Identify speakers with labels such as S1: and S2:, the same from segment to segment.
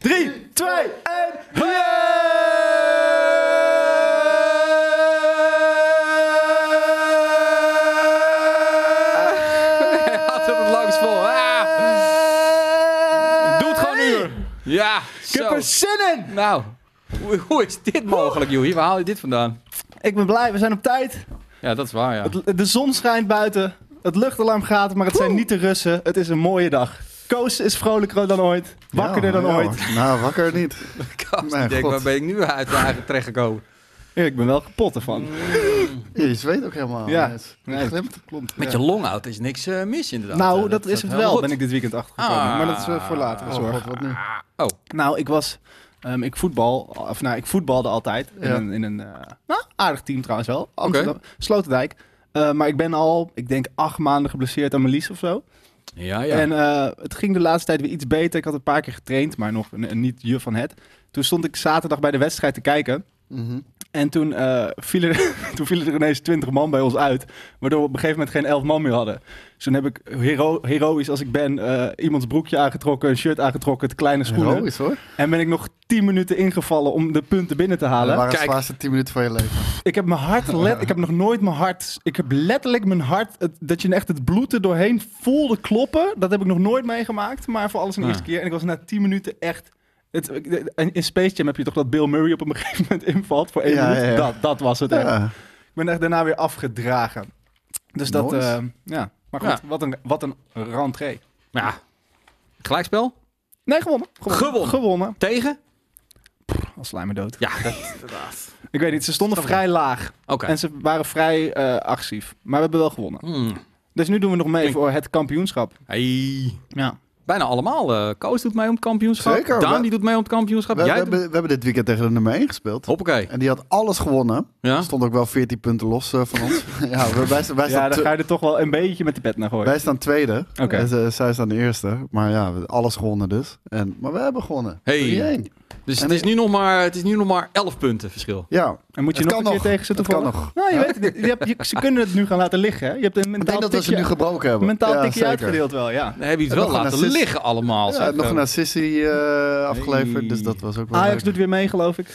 S1: 3, 2, 1.
S2: Had hem het langs vol. Ah, doe het gewoon nu. Ja,
S1: Ik heb
S2: zo.
S1: er zin in.
S2: Nou, hoe, hoe is dit mogelijk, Joey? Waar haal je dit vandaan?
S1: Ik ben blij, we zijn op tijd.
S2: Ja, dat is waar, ja.
S1: Het- De zon schijnt buiten. Het luchtalarm gaat, maar het zijn niet de Russen. Het is een mooie dag. Koos is vrolijker dan ooit. Wakkerder dan
S3: Ja, ja.
S1: ooit.
S3: Nou, wakker niet.
S2: Kast,
S3: Mijn
S2: ik denk,
S3: god.
S2: waar ben ik nu uit eigen terechtgekomen?
S1: Ik ben wel kapot ervan.
S3: Je zweet ook helemaal.
S1: Ja.
S3: Het
S1: Nee.
S3: glimt, klopt.
S2: Met
S3: Ja.
S2: je longout is niks eh, mis, inderdaad.
S1: nou,
S2: Eh,
S1: dat, is het
S2: helpt
S1: wel,
S2: goed.
S1: ben ik dit weekend achtergekomen.
S2: Ah.
S1: Maar dat is eh, voor later
S3: Oh
S1: zorg.
S3: god, wat nu?
S2: Oh,
S1: Nou, ik was... ehm, ik voetbal, of nou, ik voetbalde altijd. In
S3: Ja.
S1: een, in een eh, nou, aardig team trouwens wel. Amsterdam,
S2: Oké.
S1: Sloterdijk. Eh, maar ik ben al, ik denk, acht maanden geblesseerd aan mijn lies of zo.
S2: ja, ja.
S1: En eh, het ging de laatste tijd weer iets beter. Ik had een paar keer getraind, maar nog een- een niet juf van het. Toen stond ik zaterdag bij de wedstrijd te kijken.
S3: Mhm.
S1: En toen, eh, vielen er, toen vielen er ineens 20 man bij ons uit. Waardoor we op een gegeven moment geen 11 man meer hadden. Dus toen heb ik, hero heroïs als ik ben, eh, iemands broekje aangetrokken, een shirt aangetrokken, het kleine schoenen.
S3: Heroïs hoor.
S1: En ben ik nog 10 minuten ingevallen om de punten binnen te
S3: Dat
S1: halen.
S3: waren de
S2: Kijk.
S3: zwaarste 10 minuten van je leven.
S1: Ik heb mijn hart let, ik heb nog nooit mijn hart. Ik heb letterlijk mijn hart. Het, dat je echt het bloed er doorheen voelde kloppen. Dat heb ik nog nooit meegemaakt. Maar voor alles een
S2: Ah.
S1: eerste keer. En ik was na 10 minuten echt. Het, in- in Space Jam heb je toch dat Bill Murray op een gegeven moment invalt voor één
S3: Ja,
S1: minuut.
S3: ja, ja.
S1: Dat, dat was het. Echt.
S3: Ja.
S1: Ik ben echt daarna weer afgedragen. Dus dat.
S3: Nice.
S1: eh, ja. Maar goed, wat een, wat een rentree.
S2: ja. Gelijkspel?
S1: Nee, gewonnen.
S2: Gewonnen.
S1: Gewonnen.
S2: Tegen?
S1: Als slijmen dood.
S2: Ja.
S1: Ik weet niet, ze stonden
S2: Oké.
S1: vrij laag.
S2: Oké.
S1: En ze waren vrij eh, agressief. Maar we hebben wel gewonnen.
S2: Hmm.
S1: Dus nu doen we nog mee
S2: Klinkt-
S1: voor het kampioenschap.
S2: Hey.
S1: Ja.
S2: Bijna allemaal. eh, Koos doet mee om het kampioenschap.
S3: Zeker,
S2: Daan
S3: maar-
S2: die doet mee om het
S3: We,
S2: kampioenschap.
S3: we
S2: Jij doet-
S3: hebben, we hebben dit weekend tegen de nummer 1 gespeeld.
S2: Hoppakee.
S3: En die had alles gewonnen.
S2: Ja.
S3: Stond ook wel 14 punten los eh, van ons. ja, we- wij, wij,
S1: ja,
S3: staan
S1: dan
S3: te-
S1: ga je er toch wel een beetje met de pet naar gooien.
S3: wij staan tweede.
S1: Oké.
S3: En ze- zij staan de eerste. Maar ja, we- alles gewonnen dus. En, maar we hebben gewonnen.
S2: Hey.
S3: 3-1.
S2: Dus het is, nu nog maar, het is nu nog maar 11 punten verschil.
S3: Ja,
S1: En moet je
S3: Het
S1: nog een
S3: kan
S1: keer
S3: nog.
S1: tegen ze
S3: Het
S1: toevallig?
S3: kan nog.
S1: Nou, je weet het. niet. Je hebt, je- ze kunnen het nu gaan laten liggen. Hè? Je hebt een
S3: ik
S1: mentaal
S3: denk dat we ze
S1: tikje,
S3: nu gebroken hebben.
S1: mentaal
S3: ja,
S1: tikje
S3: zeker.
S1: uitgedeeld wel, ja.
S2: Dan hebben jullie
S3: En
S2: het
S3: nog
S2: wel
S3: een
S2: laten
S3: assist.
S2: liggen allemaal.
S3: Ja,
S2: zeg.
S3: nog een assistie eh, afgeleverd,
S2: Hey.
S3: dus dat was ook wel
S1: Ajax
S3: leuk.
S1: doet weer mee, geloof ik.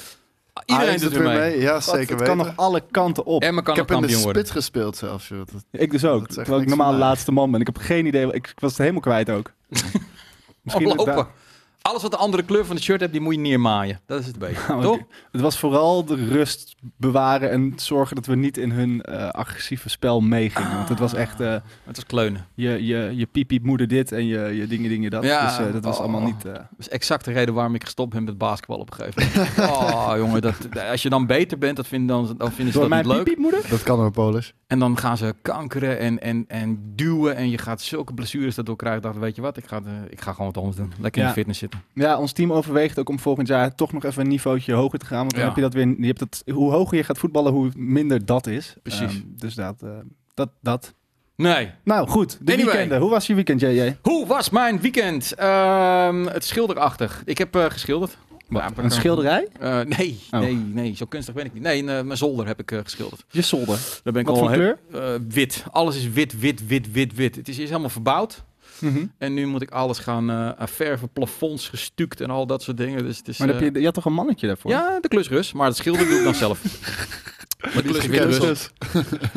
S2: Ah, Iedereen
S3: Ajax
S2: doet er mee.
S3: Ja,
S1: God,
S3: zeker
S1: het kan
S3: weten.
S1: nog alle kanten op.
S2: Emma kan
S3: ik
S2: nog
S3: heb in de
S2: kampioen
S3: spits
S2: worden.
S3: gespeeld zelfs. joh. Dat-
S1: Ik dus ook.
S3: Dat zegt
S1: Terwijl ik
S3: niks
S1: normaal
S3: van mij.
S1: laatste man ben. Ik heb geen idee. Ik, ik was het helemaal kwijt ook. Misschien het
S2: Lopen.
S1: daar-
S2: Alles wat de andere kleur van het shirt hebt, die moet je neermaaien. Dat is het beetje.
S3: Oh,
S1: Nou,
S2: toch?
S1: het- Het was vooral de rust bewaren en zorgen dat we niet in hun eh, agressieve spel meegingen. Want het was echt... eh,
S2: Het was kleunen.
S1: je, je, je piep, piep, moeder dit en je, je dingen dingen dat.
S2: Ja.
S1: dus eh, dat was
S2: Oh.
S1: allemaal niet... eh,
S2: Dat is exact de reden waarom ik gestopt ben met basketbal op een gegeven moment. Oh, jongen, dat, als je dan beter bent, dat vinden, dan, dan vinden ze
S1: door
S2: Dus
S1: mijn
S2: dat niet leuk.
S1: piep, piep, moeder?
S3: Dat kan ook, Polis.
S2: En dan gaan ze kankeren en, en, en duwen. En je gaat zulke blessures daardoor krijgen. Ik dacht, weet je wat, ik ga, de- ik ga gewoon wat anders doen. Lekker in
S1: Ja.
S2: de fitness zitten.
S1: Ja, ons team overweegt ook om volgend jaar toch nog even een niveautje hoger te gaan. Want dan
S2: Ja.
S1: heb je dat weer... Je hebt dat, hoe hoger je gaat voetballen, hoe minder dat is.
S2: Precies.
S1: Ehm, dus dat, eh, dat, dat...
S2: Nee.
S1: Nou, goed. De
S2: Anyway.
S1: weekenden. Hoe was je weekend, JJ?
S2: Hoe was mijn weekend? Ehm, het schilderachtig. Ik heb eh, geschilderd. Ja,
S1: Een schilderij?
S2: Eh, nee,
S1: Oh.
S2: nee, nee. Zo kunstig ben ik niet. Nee, in, eh, mijn zolder heb ik eh, geschilderd.
S1: Je zolder.
S2: Daar ben ik
S1: Wat
S2: al
S1: voor kleur?
S2: eh, wit. Alles is wit, wit, wit, wit, wit. Het is eerst helemaal verbouwd.
S1: Mhm.
S2: En nu moet ik alles gaan eh, verven, plafonds gestuukt en al dat soort dingen. Dus het is,
S1: Maar dan
S2: eh,
S1: heb je, je had toch een mannetje daarvoor?
S2: Ja, de klusrus. Maar het schilderen doe ik dan zelf. Maar de klus weer rust.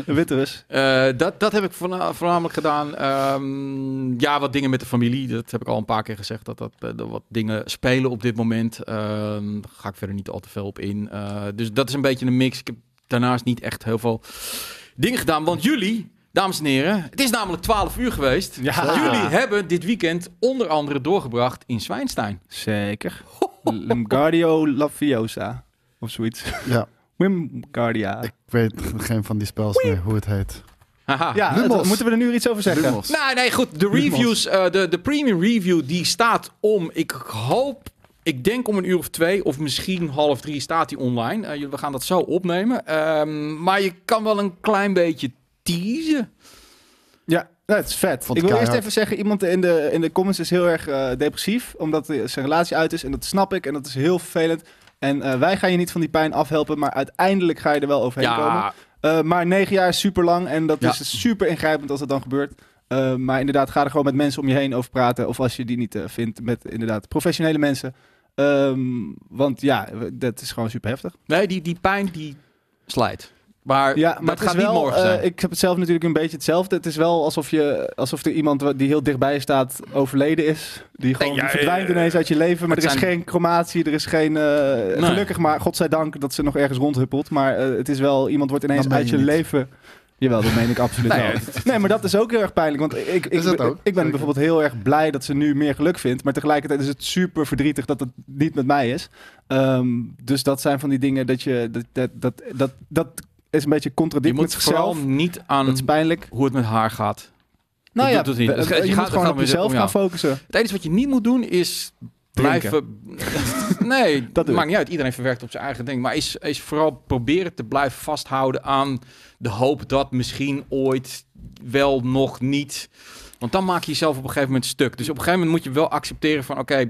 S1: Een witte rus.
S2: Eh, dat, dat heb ik voorna- voornamelijk gedaan. Ehm, ja, wat dingen met de familie. Dat heb ik al een paar keer gezegd. Dat, dat, eh, dat wat dingen spelen op dit moment. Ehm, daar ga ik verder niet al te veel op in. Eh, dus dat is een beetje een mix. Ik heb daarnaast niet echt heel veel dingen gedaan. Want jullie, dames en heren, het is namelijk 12 uur geweest.
S1: Ja.
S2: Jullie hebben dit weekend onder andere doorgebracht in Zwijnstein.
S1: Zeker. Lemgardio Lafiosa. Of zoiets.
S2: Ah.
S3: dus- Ja,
S1: Wimgardia.
S3: ik weet geen van die spels meer hoe het heet.
S2: Haha.
S1: Ja,
S3: Lumos.
S1: dat- moeten we er nu iets over zeggen?
S3: Lumos.
S2: Nou, nee, goed. De reviews, eh, de, de premium review, die staat om, ik hoop, ik denk om een uur of twee, of misschien half drie staat die online. Eh, jullie- we gaan dat zo opnemen. Ehm, maar je kan wel een klein beetje teasen.
S1: Ja, dat is vet.
S3: Vond
S1: ik
S3: het
S1: wil eerst
S3: keihard.
S1: even zeggen, iemand in de, in de comments is heel erg eh, depressief, omdat eh, zijn relatie uit is. En dat snap ik en dat is heel vervelend. En eh, wij gaan je niet van die pijn afhelpen, maar uiteindelijk ga je er wel overheen komen.
S2: Ja,
S1: Eh, maar negen jaar is super lang en dat
S2: Ja.
S1: is super ingrijpend als dat dan gebeurt. Eh, maar inderdaad, ga er gewoon met mensen om je heen over praten. Of als je die niet eh, vindt, met inderdaad professionele mensen. Ehm, want ja, we- dat is gewoon super heftig.
S2: Nee, die, die pijn die slijt. Maar,
S1: Ja, maar
S2: dat
S1: het is
S2: gaat niet
S1: wel,
S2: morgen zijn.
S1: eh, ik heb het zelf natuurlijk een beetje hetzelfde. Het is wel alsof, je, alsof er iemand wa- die heel dichtbij staat overleden is. Die gewoon
S2: ja,
S1: die verdwijnt
S2: eh,
S1: ineens uit je leven. Maar er
S2: het
S1: is
S2: zijn-
S1: geen crematie, er is geen... eh, Gelukkig maar, godzijdank dat ze nog ergens rondhuppelt. Maar eh, het is wel, iemand wordt ineens
S3: Dat meen
S1: uit je
S3: je niet.
S1: leven... Jawel, dat meen ik absoluut
S2: Nou ja,
S1: wel. Nee, maar dat is ook heel erg pijnlijk. Want ik, ik,
S3: Is dat
S1: ik, ben-
S3: ook?
S1: ik ben
S3: Zeker.
S1: bijvoorbeeld heel erg blij dat ze nu meer geluk vindt. Maar tegelijkertijd is het super verdrietig dat het niet met mij is. Ehm, dus dat zijn van die dingen dat je. Dat, dat, dat, dat, dat is een beetje
S2: je
S1: contradict met
S2: moet vooral
S1: zichzelf.
S2: niet aan
S1: Dat is pijnlijk.
S2: hoe het met haar gaat.
S1: Nou ja,
S2: doet het niet.
S1: we-
S2: Dus
S1: je,
S2: je gaat-
S1: moet gewoon
S2: gaat
S1: op
S2: met-
S1: jezelf
S2: om jou.
S1: gaan focussen.
S2: Het enige wat je niet moet doen is blijven... nee,
S1: Dat
S2: dat
S1: doe
S2: maakt niet uit. Iedereen verwerkt op zijn eigen ding. Maar is, is vooral proberen te blijven vasthouden aan de hoop dat misschien ooit wel nog niet... Want dan maak je jezelf op een gegeven moment stuk. Dus op een gegeven moment moet je wel accepteren van... oké,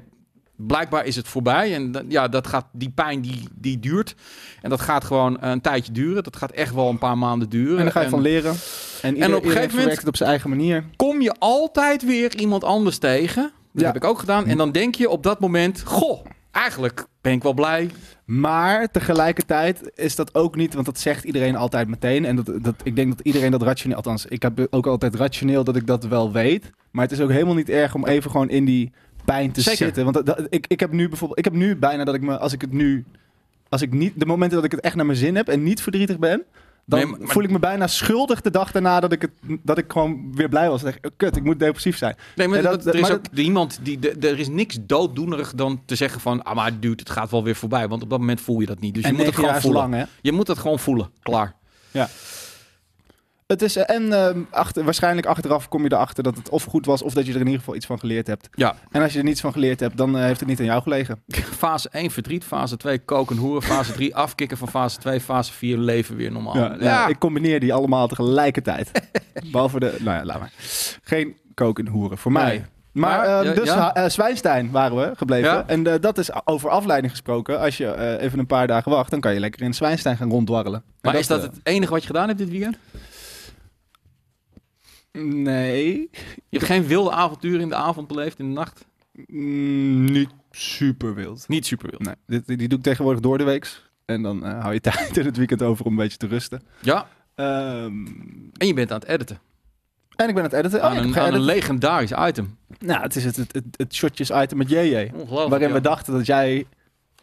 S2: blijkbaar is het voorbij. En dat- ja, dat gaat, die pijn die, die duurt. En dat gaat gewoon een tijdje duren. Dat gaat echt wel een paar maanden duren.
S1: En daar ga je van leren. En, ieder,
S2: op een
S1: iedereen
S2: gegeven moment-
S1: verwerkt het op zijn eigen manier.
S2: kom je altijd weer iemand anders tegen. Dat
S1: Ja.
S2: heb ik ook gedaan. En dan denk je op dat moment, goh, eigenlijk ben ik wel blij.
S1: Maar tegelijkertijd is dat ook niet, want dat zegt iedereen altijd meteen. En dat, dat, ik denk dat iedereen dat rationeel, althans, ik heb ook altijd rationeel dat ik dat wel weet. Maar het is ook helemaal niet erg om even gewoon in die pijn te
S2: Zeker.
S1: zitten. Want dat- dat- ik, ik heb nu bijvoorbeeld, ik heb nu bijna dat ik me, als ik het nu, als ik niet, de momenten dat ik het echt naar mijn zin heb en niet verdrietig ben. Dan
S2: Nee, maar- maar-
S1: voel ik me bijna schuldig de dag daarna dat ik, het, dat ik gewoon weer blij was. Dan denk ik, "Oh, kut, ik moet depressief zijn.
S2: Nee, maar
S1: Ja, dat-
S2: dat- er is
S1: maar
S2: ook iemand die, de- er is niks dooddoenerig dan te zeggen van, ah maar dude, het gaat wel weer voorbij. Want op dat moment voel je dat niet. Dus
S1: en
S2: je moet het
S1: negen jaar
S2: gewoon
S1: is
S2: voelen.
S1: lang, hè?
S2: Je moet het gewoon voelen. Klaar.
S1: Het is, eh, en ehm, achter, waarschijnlijk achteraf kom je erachter dat het of goed was... of dat je er in ieder geval iets van geleerd hebt.
S2: Ja.
S1: En als je er niets van geleerd hebt, dan eh, heeft het niet aan jou gelegen.
S2: Fase 1 verdriet, fase 2 koken hoeren, fase 3 afkicken van fase 2, fase 4 leven weer normaal.
S1: Ja, ja, Ik combineer die allemaal tegelijkertijd. Behalve de... Nou ja, laat maar. Geen koken en hoeren voor mij.
S2: Nee.
S1: Maar,
S2: Maar,
S1: ehm,
S2: ja,
S1: dus
S2: ja.
S1: ha- eh, Zwijnstein waren we gebleven.
S2: Ja.
S1: En eh, dat is over afleiding gesproken. Als je eh, even een paar dagen wacht, dan kan je lekker in Zwijnstein gaan ronddwarrelen. En
S2: maar is dat
S1: eh,
S2: het enige wat je gedaan hebt dit weekend?
S1: Nee,
S2: Je hebt geen wilde avonturen in de avond beleefd, in de nacht?
S1: Mm, niet super wild.
S2: Niet super wild.
S1: Nee, dit- die, die doe ik tegenwoordig door de weeks. En dan eh, hou je tijd in het weekend over om een beetje te rusten.
S2: Ja,
S1: Ehm,
S2: en je bent aan het editen.
S1: en ik ben aan het editen. Oh,
S2: aan
S1: ja, ik heb
S2: een, aan een
S1: geëdit.
S2: legendarisch item.
S1: nou, het is het, het, het, het shotjes item met JJ.
S2: Ongelooflijk.
S1: Waarin
S2: Oh, ja.
S1: we dachten dat jij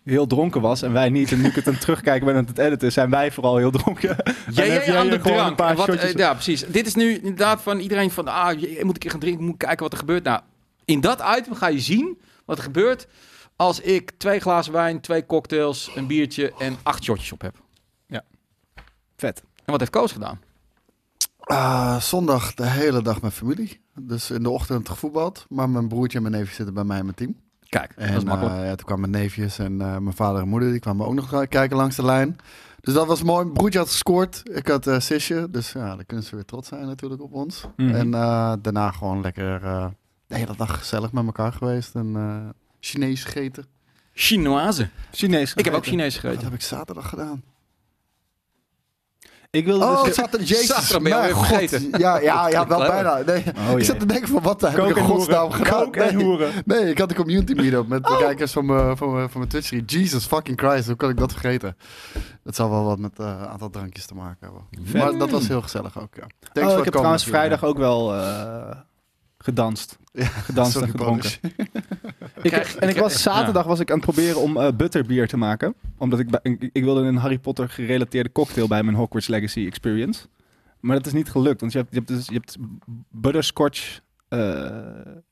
S1: heel dronken was en wij niet. En nu ik het aan het terugkijken ben aan het editen, zijn wij vooral heel dronken.
S2: Jij,
S1: En heb
S2: jij
S1: jij
S2: aan de
S1: er gewoon
S2: drank.
S1: een paar
S2: En wat,
S1: shotjes-
S2: eh, ja, precies. Dit is nu inderdaad van iedereen van... Ah, je- moet ik een gaan drinken? Moet ik kijken wat er gebeurt? Nou, in dat item ga je zien wat er gebeurt... als ik twee glazen wijn, twee cocktails, een biertje en acht shotjes op heb.
S1: Vet.
S2: En wat heeft Koos gedaan?
S3: Ah, zondag de hele dag met familie. Dus in de ochtend gevoetbald. Maar mijn broertje en mijn neefje zitten bij mij in mijn team.
S2: Kijk,
S3: En
S2: dat is makkelijk.
S3: eh, ja, toen kwamen mijn neefjes en eh, mijn vader en moeder. Die kwamen ook nog kijken langs de lijn. Dus dat was mooi. Mijn broertje had gescoord. Ik had eh zusje. Dus ja, dan kunnen ze weer trots zijn natuurlijk op ons.
S1: Mhm.
S3: En eh, daarna gewoon lekker eh, de hele dag gezellig met elkaar geweest. En eh Chinees gegeten.
S2: Chinoise.
S1: Chinees.
S2: Ik heb ook
S1: gegeten.
S2: Chinees
S3: Wat
S2: gegeten.
S3: heb ik zaterdag gedaan?
S1: Ik wilde
S3: Oh,
S1: dus...
S3: zaterdag. Jezus,
S2: Zaterdag ben je
S3: mijn
S2: alweer
S3: god.
S2: vergeten.
S3: Ja, ja, ja wel
S2: Clever.
S3: bijna. Nee,
S1: Oh,
S3: ik
S1: jee.
S3: zat te denken van wat heb
S1: Kook
S3: ik in
S1: en
S3: godsnaam
S1: hoeren.
S3: gedaan?
S1: Kook en
S3: Nee.
S1: hoeren.
S3: Nee, ik had een community meetup met
S1: Oh.
S3: de kijkers van mijn, van, mijn, van mijn Twitch stream. Jesus fucking Christ, hoe kan ik dat vergeten? Dat zal wel wat met eh, een aantal drankjes te maken hebben.
S1: Vet.
S3: Maar dat was heel gezellig ook, ja. Thanks
S1: oh, ik
S3: voor het
S1: heb
S3: komen
S1: trouwens
S3: natuurlijk.
S1: vrijdag ook wel eh, gedanst.
S3: Ja,
S1: gedanst
S3: Sorry,
S1: en gedronken.
S3: bonus.
S1: Ik,
S2: Krijg-
S1: en ik was, zaterdag
S2: Ja.
S1: was ik aan het proberen om eh, butterbier te maken. Omdat ik, bij- ik, ik wilde een Harry Potter gerelateerde cocktail bij mijn Hogwarts Legacy Experience. Maar dat is niet gelukt, want je hebt, je hebt, dus, je hebt butterscotch eh,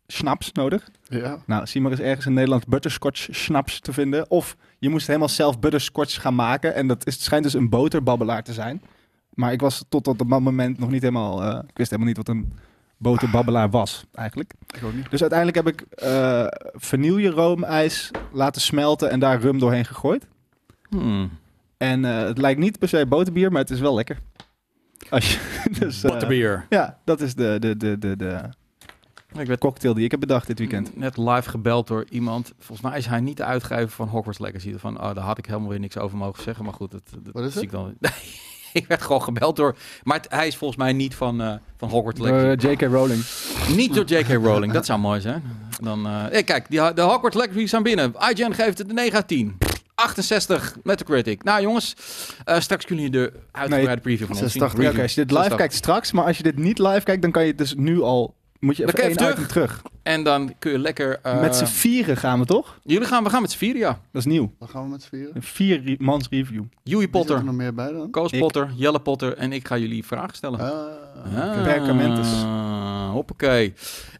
S1: snaps nodig.
S3: Ja.
S1: Nou, zie maar eens ergens in Nederland butterscotch snaps te vinden. Of je moest helemaal zelf butterscotch gaan maken. En dat is, schijnt dus een boterbabbelaar te zijn. Maar ik was tot op dat moment nog niet helemaal... eh, ik wist helemaal niet wat een boterbabbelaar was, eigenlijk.
S3: Ik ook niet.
S1: Dus uiteindelijk heb ik eh vanille roomijs laten smelten en daar rum doorheen gegooid.
S2: Hmm.
S1: En eh, het lijkt niet per se boterbier, maar het is wel lekker. Als je, dus, eh,
S2: Butterbeer.
S1: Ja, dat is de, de, de, de, de
S2: Ik werd
S1: cocktail die ik heb bedacht dit weekend.
S2: Net live gebeld door iemand. Volgens mij is hij niet de uitgever van Hogwarts Legacy. Van, oh, daar had ik helemaal weer niks over mogen zeggen. Maar goed, dat, dat
S3: Wat is
S2: zie ik
S3: het?
S2: dan. Nee, ik werd gewoon gebeld door. Maar het- hij is volgens mij niet van, eh, van Hogwarts Legacy.
S1: J.K. Rowling.
S2: Niet door J.K. Rowling. Dat zou mooi zijn. Dan, eh, hey, kijk, die, ha- de Hogwarts Legacy zijn binnen. IGN geeft het een 9 uit 10. 68 Metacritic. Nou jongens, eh, straks kunnen jullie de uitgebreide preview van ons zien.
S3: 86
S1: Ja, Oké, als je dit live
S2: Preview.
S1: kijkt straks, maar als je dit niet live kijkt, dan kan je het dus nu al... Moet je
S2: Dan
S1: even
S2: kan je
S1: één
S2: even
S1: item terug.
S2: En dan kun je lekker... eh,
S1: Met z'n vieren gaan we toch?
S2: Jullie gaan, we gaan met z'n vieren, ja.
S1: Dat is nieuw.
S3: Dan gaan we met z'n vieren.
S1: Een viermans review.
S2: Joey
S3: Wie zit er
S2: Potter,
S3: nog meer bij dan?
S2: Koos
S1: Ik.
S2: Potter, Jelle Potter en ik ga jullie vragen stellen.
S3: Ah,
S2: Ah,
S1: Perkamentus.
S2: Hoppakee.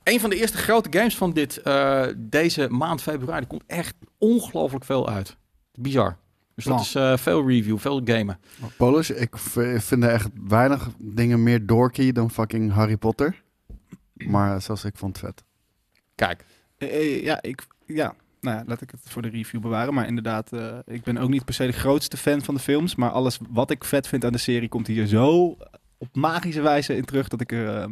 S2: Een van de eerste grote games van dit, eh, deze maand februari komt echt ongelooflijk veel uit. Bizar. Dus dat
S1: Nou.
S2: is eh, veel review, veel gamen.
S3: Maar Polish, ik v- vind er echt weinig dingen meer dorky dan fucking Harry Potter. Maar eh, zoals ik vond het vet.
S2: Kijk,
S1: Eh, eh, ja, ik, ja, nou ja, laat ik het voor de review bewaren. Maar inderdaad, eh, ik ben ook niet per se de grootste fan van de films. Maar alles wat ik vet vind aan de serie komt hier zo op magische wijze in terug dat ik er eh,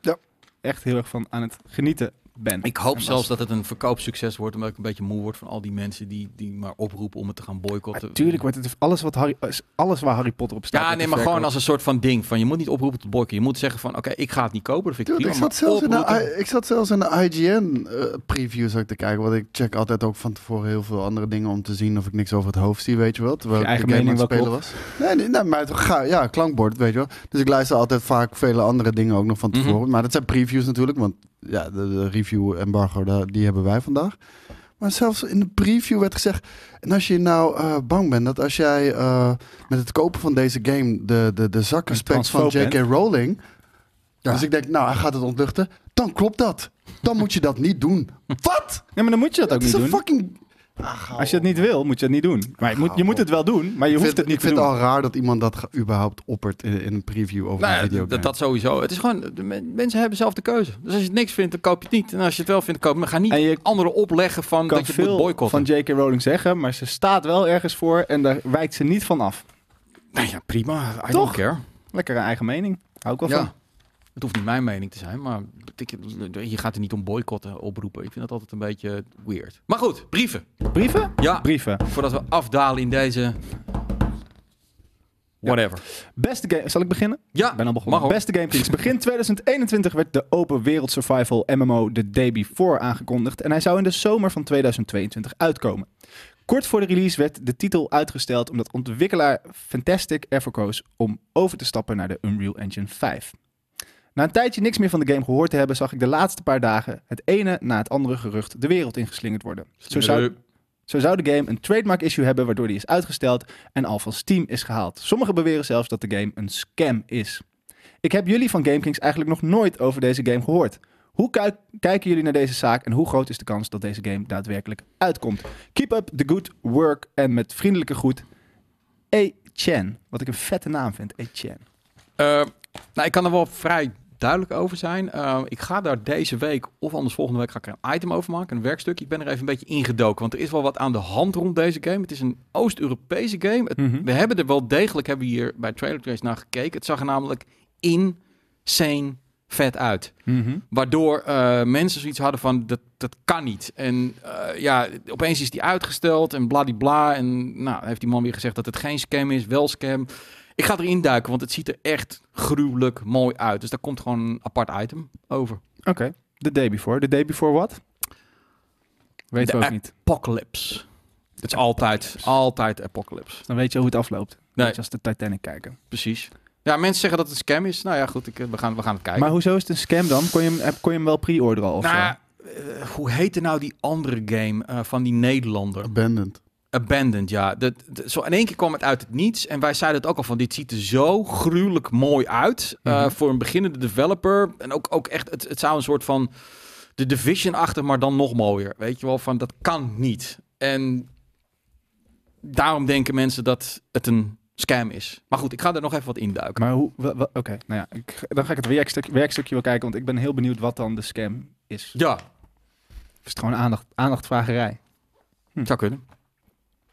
S3: Ja.
S1: echt heel erg van aan het genieten ben.
S2: ik hoop
S1: En
S2: zelfs
S1: was-
S2: dat het een verkoopsucces wordt, omdat ik een beetje moe word van al die mensen die, die maar oproepen om het te gaan
S1: Maar
S2: boycotten.
S1: Tuurlijk wordt het alles, wat Harry, alles waar Harry Potter op staat.
S2: Ja,
S1: wordt
S2: nee, maar
S1: verkocht.
S2: gewoon als een soort van ding. Van, je moet niet oproepen tot boycotten. Je moet zeggen van, oké, ik ga het niet kopen. Dat vind ik
S3: Dude, ik,
S2: prima.
S3: zat
S2: maar
S3: zelfs in
S2: oproepen-
S3: de, I- ik zat zelfs in de IGN eh, preview zat ik te kijken. Want ik check altijd ook van tevoren heel veel andere dingen om te zien of ik niks over het hoofd zie, weet je wel. Terwijl
S1: Je
S3: ik
S1: eigen
S3: de game aan
S1: mening
S3: het spelen
S1: wel
S3: was. Nee, nee, nee maar het ga, ja, klankbord, weet je wel. Dus ik luister altijd vaak vele andere dingen ook nog van tevoren.
S2: Mhm.
S3: Maar dat zijn previews natuurlijk, want ja, de, de review embargo, da- die hebben wij vandaag. Maar zelfs in de preview werd gezegd, en als je nou eh, bang bent dat als jij eh, met het kopen van deze game de, de, de zakkenspect van
S1: transfoob
S3: J.K. Rowling... Dus ik denk, nou, hij gaat het ontluchten. Dan klopt dat. Dan moet je dat niet doen. Wat?
S1: Ja, maar dan moet je dat ook
S3: Het is
S1: niet
S3: een
S1: doen.
S3: fucking...
S1: Als je het
S2: Oh,
S1: niet wil, moet je het niet doen. Maar je moet, je moet het wel doen, maar je
S3: Ik
S1: hoeft
S3: vind,
S1: het niet
S3: ik
S1: te
S3: vind
S1: doen.
S3: het al raar dat iemand dat ge- überhaupt oppert in, in een preview over een
S2: Nou, ja,
S3: video.
S2: dat, dat sowieso. Het is gewoon, de men- mensen hebben zelf de keuze. Dus als je het niks vindt, dan koop je het niet. En als je het wel vindt, koop je het. Maar ga
S1: En
S2: niet
S1: je
S2: anderen opleggen van
S1: kan
S2: dat je het moet
S1: veel van
S2: boycotten.
S1: J.K. Rowling zeggen, maar ze staat wel ergens voor en daar wijkt ze niet van af.
S2: nou ja, prima. I don't
S1: Toch?
S2: care.
S1: Lekker een eigen mening. Hou ik wel
S2: Ja.
S1: van.
S2: Het hoeft niet mijn mening te zijn, maar ik, je gaat er niet om boycotten oproepen. Ik vind dat altijd een beetje weird. Maar goed, brieven.
S1: Brieven?
S2: Ja,
S1: Brieven.
S2: voordat we afdalen in deze... Whatever.
S1: Beste game... Zal ik beginnen?
S2: Ja,
S1: Ik ben al begonnen.
S2: mag hoor.
S1: Beste Game Kings. Begin 2021 werd de open wereld survival MMO The Day Before aangekondigd en hij zou in de zomer van 2022 uitkomen. Kort voor de release werd de titel uitgesteld omdat ontwikkelaar Fantastic ervoor koos om over te stappen naar de Unreal Engine 5. Na een tijdje niks meer van de game gehoord te hebben, zag ik de laatste paar dagen het ene na het andere gerucht de wereld ingeslingerd worden. Zo
S2: Eh,
S1: zou, zo zou de game een trademark issue hebben waardoor die is uitgesteld en al van Steam is gehaald. Sommigen beweren zelfs dat de game een scam is. Ik heb jullie van GameKings eigenlijk nog nooit over deze game gehoord. Hoe kuik- kijken jullie naar deze zaak en hoe groot is de kans dat deze game daadwerkelijk uitkomt? Keep up the good work en met vriendelijke groet Etienne. Wat ik een vette naam vind, Etienne.
S2: Eh, nou, ik kan er wel vrij duidelijk over zijn. Eh, ik ga daar deze week of anders volgende week ga ik er een item over maken, een werkstuk. Ik ben er even een beetje ingedoken, want er is wel wat aan de hand rond deze game. Het is een Oost-Europese game. Het-
S1: Mhm.
S2: We hebben er wel degelijk, hebben we hier bij Trailer Trace naar gekeken. Het zag er namelijk insane vet uit.
S1: Mhm.
S2: Waardoor eh, mensen zoiets hadden van, dat, dat kan niet. En eh, ja, opeens is die uitgesteld en bladibla. En nou, heeft die man weer gezegd dat het geen scam is, wel scam. Ik ga erin duiken, want het ziet er echt gruwelijk mooi uit. Dus daar komt gewoon een apart item over.
S1: Oké, the day before. The day before what? Weet
S2: De
S1: we ook
S2: app-
S1: niet.
S2: Apocalypse. Het is altijd, altijd apocalypse.
S1: Dan weet je hoe het afloopt.
S2: Nee.
S1: Weet je als de Titanic kijken.
S2: Precies. Ja, mensen zeggen dat het een scam is. Nou ja, goed, ik, eh, we, gaan, we gaan het kijken.
S1: Maar hoezo is het een scam dan? Kon je hem, heb- kon je hem wel pre-orderen al of
S2: nou,
S1: zo?
S2: eh, hoe heette nou die andere game eh, van die Nederlander?
S3: Abandoned.
S2: Abandoned, ja. Dat, dat- zo in één keer kwam het uit het niets. En wij zeiden het ook al van, dit ziet er zo gruwelijk mooi uit. eh,
S1: Mhm.
S2: Voor een beginnende developer. En ook, ook echt, het, het zou een soort van de division achter, maar dan nog mooier. Weet je wel, van dat kan niet. En daarom denken mensen dat het een scam is. Maar goed, ik ga er nog even wat induiken.
S1: Maar hoe... wa- wa- Oké, nou ja. Ik, dan ga ik het werkstuk, werkstukje wel kijken, want ik ben heel benieuwd wat dan de scam is.
S2: Ja,
S1: Is het gewoon aandacht, aandachtvagerij?
S2: zou kunnen.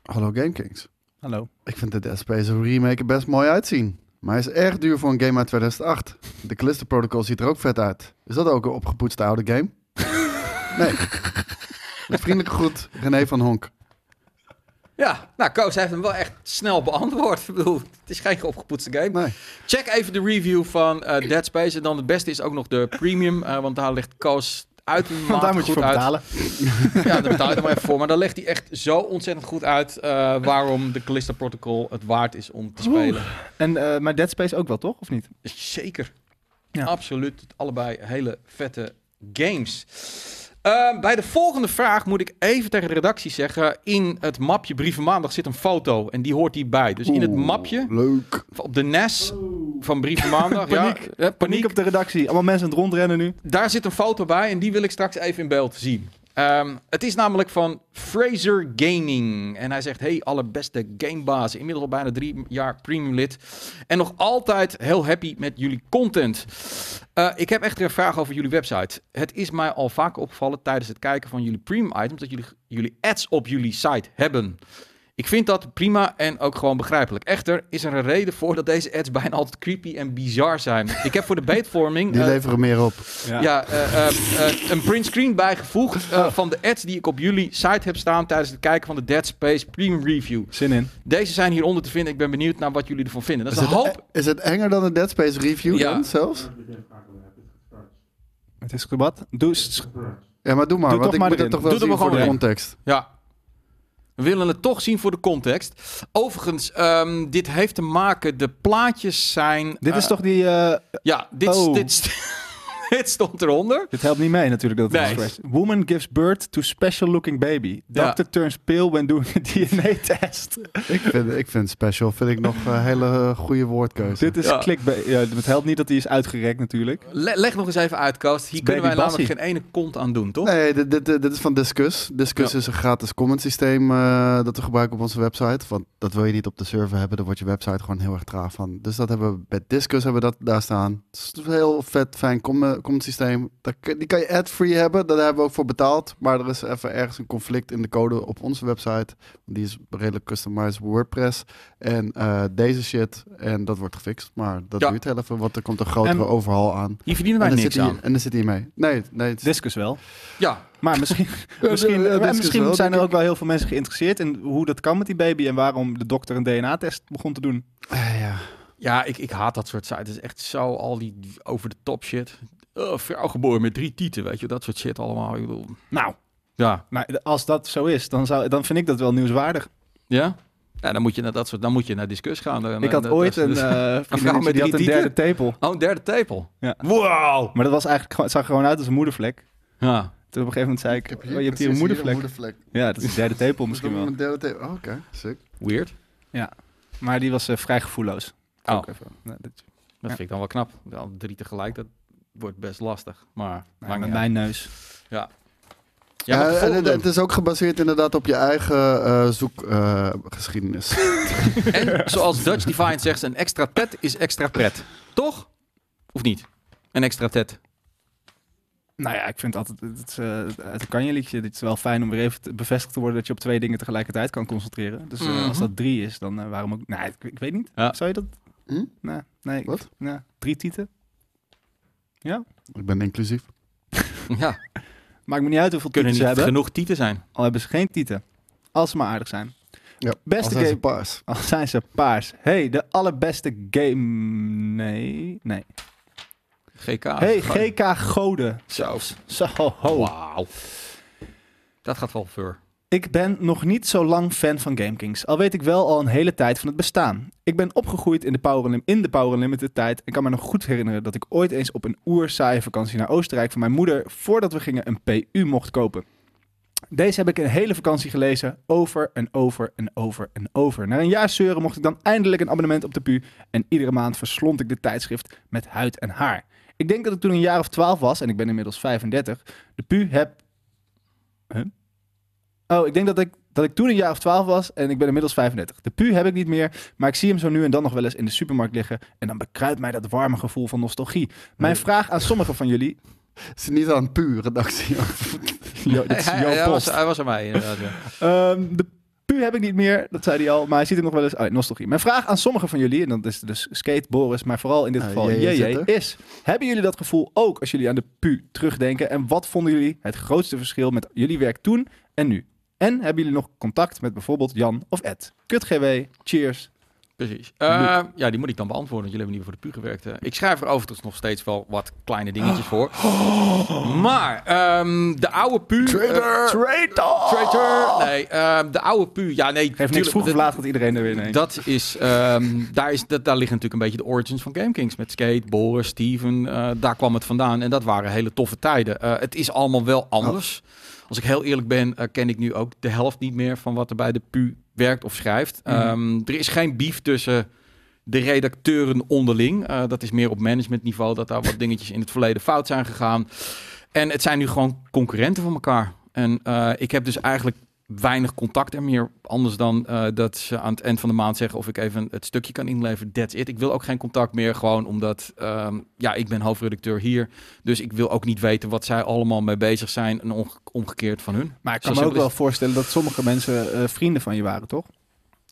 S3: Hallo GameKings.
S1: Hallo.
S3: Ik vind de Dead Space remake er best mooi uitzien. Maar hij is erg duur voor een game uit 2008. De Callisto Protocol ziet er ook vet uit. Is dat ook een opgepoetste oude game? nee. Met vriendelijke groet, René van Honk.
S2: Ja, nou, Koos heeft hem wel echt snel beantwoord. Ik bedoel, het is geen opgepoetste game.
S3: Nee.
S2: Check even de review van eh, Dead Space. En dan het beste is ook nog de premium. eh, want daar legt Koos
S1: Want
S2: uitermate
S1: daar moet je
S2: goed
S1: voor
S2: uit.
S1: betalen.
S2: Ja, daar betaal je er maar even voor. Maar dan legt hij echt zo ontzettend goed uit eh, waarom de Callisto Protocol het waard is om te
S1: Oeh.
S2: spelen. Dus
S1: En, eh, maar Dead Space ook wel, toch? Of niet?
S2: Zeker.
S1: Ja.
S2: Absoluut. Allebei hele vette games. Ehm, bij de volgende vraag moet ik even tegen de redactie zeggen: in het mapje Brieven Maandag zit een foto en die hoort hierbij. Dus in het
S3: Oeh,
S2: mapje
S3: Leuk.
S2: op de NES van Brieven Maandag, ja,
S1: Paniek.
S2: eh,
S1: Paniek
S2: paniek,
S1: op de redactie. Allemaal mensen aan het rondrennen nu.
S2: daar zit een foto bij en die wil ik straks even in beeld zien. Ehm, het is namelijk van Fraser Gaming. En hij zegt: Hey, allerbeste gamebazen. Inmiddels al bijna drie jaar premium lid. En nog altijd heel happy met jullie content. Eh, ik heb echt een vraag over jullie website. Het is mij al vaak opgevallen tijdens het kijken van jullie premium items dat jullie, jullie ads op jullie site hebben. Ik vind dat prima en ook gewoon begrijpelijk. Echter, is er een reden voor dat deze ads bijna altijd creepy en bizar zijn? Ik heb voor de beetvorming.
S3: Die
S2: eh,
S3: leveren meer op.
S1: Ja.
S2: ja, eh, eh, eh, een print screen bijgevoegd eh, van de ads die ik op jullie site heb staan tijdens het kijken van de Dead Space Premium Review.
S1: Zin in.
S2: Deze zijn hieronder te vinden. Ik ben benieuwd naar wat jullie ervan vinden. Dat is,
S3: het,
S2: een hoop.
S3: is het enger dan een Dead Space review
S2: Ja.
S3: dan zelfs?
S1: Het is wat? Doe, s-
S3: Ja, maar doe maar,
S1: Doe
S3: want
S1: toch
S3: ik
S1: maar
S3: moet het
S1: erin.
S3: toch wel
S2: Doe er
S3: zien
S2: maar
S3: voor de
S2: gewoon
S3: context.
S2: Ja. We willen het toch zien voor de context. Overigens, ehm, dit heeft te maken. De plaatjes zijn.
S1: dit is
S2: eh,
S1: toch die... eh,
S2: Ja, dit,
S1: Oh.
S2: dit, st- dit stond eronder.
S1: dit helpt niet mee natuurlijk. Dat het
S2: Nee.
S1: is geweest. Woman gives birth to special looking baby.
S2: Ja.
S1: Doctor turns pale when doing a DNA test.
S3: Ik vind, ik vind special, vind ik nog een hele eh, goede woordkeuze.
S1: Dit is
S2: Ja.
S1: clickbait. Ja, het helpt niet dat hij is uitgerekt natuurlijk.
S2: Le- leg nog eens even uit, Koos. Hier
S1: is
S2: kunnen wij
S1: baby
S2: namelijk geen ene kont aan doen, toch?
S3: Nee, dit, dit, dit is van Discus. Discus
S2: Ja.
S3: is een gratis comment systeem eh, dat we gebruiken op onze website. Want dat wil je niet op de server hebben, dan wordt je website gewoon heel erg traag van. Dus dat hebben we bij Discus hebben we dat daar staan. Het is een heel vet, fijn com- comment systeem. Dat, kun- die kan je ad-free hebben, daar hebben we ook voor betaald. Maar er is even ergens een conflict in de code op onze website. Die is redelijk customized WordPress. En eh, deze shit, en dat wordt gefixt. Maar dat
S2: Ja.
S3: duurt heel even, want er komt een grotere
S1: En-
S3: overhaal aan.
S2: Hier verdienen
S3: En
S2: wij
S3: dan, zit
S2: niks
S3: hij,
S2: aan.
S3: en dan zit hij mee. Nee, nee. het is-
S1: Discus wel.
S2: Ja,
S1: Maar misschien,
S3: Ja,
S1: misschien,
S3: ja,
S1: en
S3: Discus
S1: misschien
S3: wel,
S1: zijn er
S3: denk
S1: ook wel heel veel mensen geïnteresseerd in hoe dat kan met die baby en waarom de dokter een DNA-test begon te doen.
S3: Eh, ja.
S2: Ja, ik, ik haat dat soort sites. Het is echt zo al die over de top shit. Eh, vrouw geboren met drie tieten, weet je, dat soort shit allemaal. Ik bedoel,
S1: Nou,
S2: ja.
S1: nou, als dat zo is, dan, zou, dan vind ik dat wel nieuwswaardig.
S2: Ja? Ja, dan moet je naar dat soort, dan moet je naar discuss gaan. Dan-
S1: ik had
S2: dan-
S1: ooit
S2: dat
S1: een
S2: is- dus-
S1: eh
S2: vrouw
S1: vriendinnetje
S2: met
S1: die had een
S2: drie
S1: derde tepel.
S2: Oh, een derde tepel.
S1: Ja.
S2: Wow!
S1: Maar dat was eigenlijk, gewoon- het zag er gewoon uit als een moedervlek.
S2: Ja.
S1: Toen op een gegeven moment zei ik, oh, je hebt hier een moedervlek. ja, dat is de derde tepel misschien wel.
S3: oh, Oké, sick.
S2: Weird.
S1: Maar die was eh, vrij gevoelloos.
S2: Oh,
S1: Ook
S2: dat
S1: even. Nou, dit-
S2: vind ik dan wel knap. Al drie tegelijk, dat wordt best lastig. Maar,
S1: nou, met
S2: maakt niet uit.
S1: mijn neus.
S2: Ja, maar
S3: Eh,
S2: de
S3: en het,
S2: volgende.
S3: het is ook gebaseerd inderdaad op je eigen eh, zoekgeschiedenis.
S2: En zoals Dutch Defiant zegt, een extra pet is extra pret. Toch? Of niet? Een extra tet.
S1: Nou ja, ik vind altijd, het, is, eh, het kan je liedje. Het is wel fijn om weer even te- bevestigd te worden dat je op twee dingen tegelijkertijd kan concentreren. Dus eh,
S2: Mhm.
S1: als dat drie is, dan eh, waarom ook... Nee, ik, ik weet niet.
S2: Ja.
S1: Zou je dat...
S3: Hm?
S1: Nee, nee. ik-
S3: Wat?
S1: nee, drie tieten.
S3: ik ben inclusief.
S2: Ja,
S1: Maakt me niet uit hoeveel
S2: kunnen
S1: tieten ze
S2: niet
S1: hebben.
S2: genoeg tieten zijn.
S1: Al hebben ze geen tieten. Als ze maar aardig zijn.
S3: Ja,
S1: Beste
S3: Als hij
S1: game-
S3: zijn paars.
S1: Al zijn ze paars. hey, de allerbeste game... Nee, nee.
S2: GK.
S1: hey,
S2: Ah, Gewoon-
S1: GK Goden.
S2: Zelfs.
S1: Zo, ho.
S2: Wauw. Dat gaat wel ver.
S1: Ik ben nog niet zo lang fan van GameKings, al weet ik wel al een hele tijd van het bestaan. Ik ben opgegroeid in de Power, Unim- in de Power Unlimited tijd en kan me nog goed herinneren dat ik ooit eens op een oerzaaie vakantie naar Oostenrijk van mijn moeder, voordat we gingen, een PU mocht kopen. Deze heb ik een hele vakantie gelezen, over en over en over en over. Na een jaar zeuren mocht ik dan eindelijk een abonnement op de PU en iedere maand verslond ik de tijdschrift met huid en haar. Ik denk dat ik toen een jaar of 12 was, en ik ben inmiddels 35, de PU heb Oh, ik denk dat ik, dat ik toen een jaar of 12 was en ik ben inmiddels 35. De pu heb ik niet meer, maar ik zie hem zo nu en dan nog wel eens in de supermarkt liggen. En dan bekruipt mij dat warme gevoel van nostalgie. Mijn vraag aan sommigen van jullie.
S3: Is niet aan puur redactie.
S1: Jo, dit is
S2: hij,
S1: jouw
S2: hij was,
S1: post.
S2: hij was aan mij inderdaad. ja.
S1: Ehm, de pu heb ik niet meer, dat zei hij al, maar hij ziet hem nog wel eens. Oh, nostalgie. Mijn vraag aan sommigen van jullie, en dat is dus Skate, Boris, maar vooral in dit
S3: Ah,
S1: geval
S3: JJ
S1: JJ,
S3: zit er.
S1: is: Hebben jullie dat gevoel ook als jullie aan de pu terugdenken? En wat vonden jullie het grootste verschil met jullie werk toen en nu? En hebben jullie nog contact met bijvoorbeeld Jan of Ed? Kut GW, cheers.
S2: Precies. Eh, ja, die moet ik dan beantwoorden, want jullie hebben niet voor de puur gewerkt. hè. Ik schrijf er overigens nog steeds wel wat kleine dingetjes voor. Maar ehm, de oude puur... Eh,
S3: Traitor!
S2: traitor! Traitor! Nee, ehm, de oude puur... Ja, nee,
S1: Geeft niks
S2: tuurlijk,
S1: vroeg of
S2: dat-
S1: laat gaat iedereen er weer in.
S2: dat is, ehm, daar, is dat, daar liggen natuurlijk een beetje de origins van GameKings. Met Skate, Boris, Steven. eh, daar kwam het vandaan. En dat waren hele toffe tijden. Eh, het is allemaal wel anders. Als ik heel eerlijk ben, eh, ken ik nu ook de helft niet meer van wat er bij de PU werkt of schrijft.
S1: Mhm.
S2: Ehm, er is geen beef tussen de redacteuren onderling. Eh, dat is meer op managementniveau dat daar wat dingetjes in het verleden fout zijn gegaan. En het zijn nu gewoon concurrenten van elkaar. En eh, ik heb dus eigenlijk weinig contact er meer. Anders dan eh, dat ze aan het eind van de maand zeggen of ik even het stukje kan inleveren. That's it. Ik wil ook geen contact meer. Gewoon omdat, ehm, ja, ik ben hoofdredacteur hier. Dus ik wil ook niet weten wat zij allemaal mee bezig zijn. En onge- omgekeerd van hun.
S1: Maar ik
S2: Zo
S1: kan me ook
S2: simpel
S1: wel
S2: is
S1: voorstellen dat sommige mensen eh, vrienden van je waren, toch?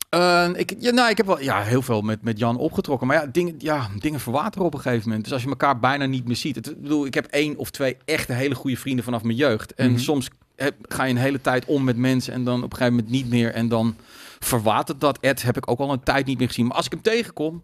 S2: Eh, ik, ja, nou, ik heb wel ja, heel veel met, met Jan opgetrokken. Maar ja, dingen, ja, dingen verwateren op een gegeven moment. Dus als je elkaar bijna niet meer ziet. Het, ik bedoel, ik heb één of twee echte hele goede vrienden vanaf mijn jeugd. En
S1: Mhm.
S2: soms heb- ga je een hele tijd om met mensen en dan op een gegeven moment niet meer. En dan verwatert dat. Ed heb ik ook al een tijd niet meer gezien. Maar als ik hem tegenkom,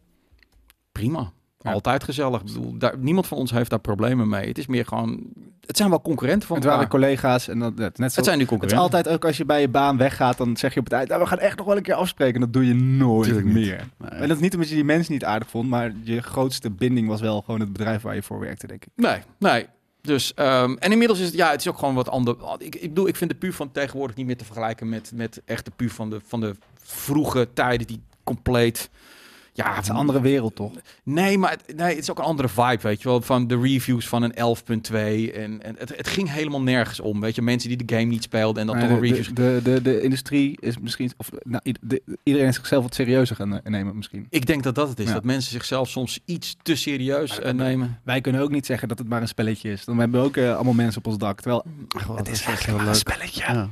S2: prima.
S1: Ja.
S2: Altijd gezellig. Ik bedoel, daar, niemand van ons heeft daar problemen mee. Het is meer gewoon... Het zijn wel concurrenten van
S1: het
S2: elkaar.
S1: waren collega's en dat, dat- net zo.
S2: het zijn nu
S1: Het is
S2: concurrenten.
S1: altijd ook als je bij je baan weggaat, dan zeg je op het eind, nou, we gaan echt nog wel een keer afspreken. En dat doe je nooit
S3: Tuurlijk niet.
S1: meer. En dat is niet omdat je die mensen niet aardig vond, maar je grootste binding was wel gewoon het bedrijf waar je voor werkte, denk ik.
S2: Nee, nee. Dus, ehm, en inmiddels is het, ja, het is ook gewoon wat ander. Ik, ik bedoel, ik vind de puur van tegenwoordig niet meer te vergelijken met, met echt de puur van de, van de vroege tijden die compleet. Ja,
S1: Het is een andere wereld, toch?
S2: Nee, maar het, nee, het is ook een andere vibe, weet je wel. Van de reviews van een 11.2. En, en het, het ging helemaal nergens om, weet je. Mensen die de game niet speelden en dan toch
S1: Maar
S2: een
S1: de,
S2: reviews.
S1: de, de, de, de industrie is misschien, of nou, ied- de- iedereen is zichzelf wat serieuzer gaan eh, nemen misschien.
S2: Ik denk dat dat het is.
S1: Ja.
S2: Dat mensen zichzelf soms iets te serieus
S1: Maar
S2: eh,
S1: dat-
S2: nemen.
S1: Wij kunnen ook niet zeggen dat het maar een spelletje is. Dan hebben we ook eh, allemaal mensen op ons dak. Terwijl,
S3: God,
S1: het is
S3: echt
S1: eigenlijk maar een spelletje.
S3: Ja.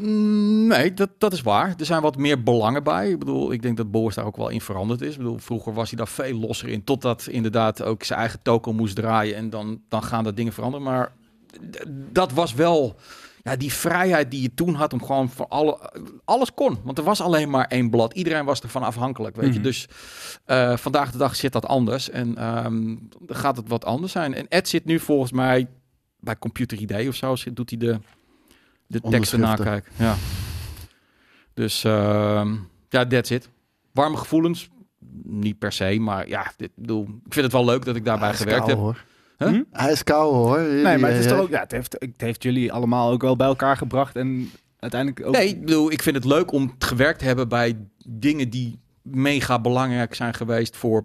S2: Mm, Nee, dat, dat is waar. Er zijn wat meer belangen bij. Ik bedoel, ik denk dat Boris daar ook wel in veranderd is. Ik bedoel, vroeger was hij daar veel losser in. Totdat inderdaad ook zijn eigen token moest draaien. En dan, dan gaan dat dingen veranderen. Maar d- dat was wel... Ja, die vrijheid die je toen had om gewoon voor alle, alles kon. Want er was alleen maar één blad. Iedereen was ervan afhankelijk, weet je.
S1: Mhm.
S2: Dus eh, vandaag de dag zit dat anders. En ehm, dan gaat het wat anders zijn. En Ed zit nu volgens mij bij Computer Idee of zo. zit- Doet hij de, de teksten
S3: Onderschriften.
S2: nakijken. Ja. Dus ehm, ja, that's it. Warme gevoelens? Niet per se, maar ja, dit, ik bedoel, ik vind het wel leuk dat ik daarbij
S3: Hij is
S2: gewerkt
S3: kaal,
S2: heb.
S3: Hoor.
S2: Huh?
S1: Hm?
S3: Hij is kaal hoor. eh,
S1: Nee, maar het is
S3: Jij-
S1: toch ook, ja, het, heeft, het heeft jullie allemaal ook wel bij elkaar gebracht en uiteindelijk ook...
S2: Nee, ik bedoel, ik vind het leuk om t- gewerkt te hebben bij dingen die mega belangrijk zijn geweest voor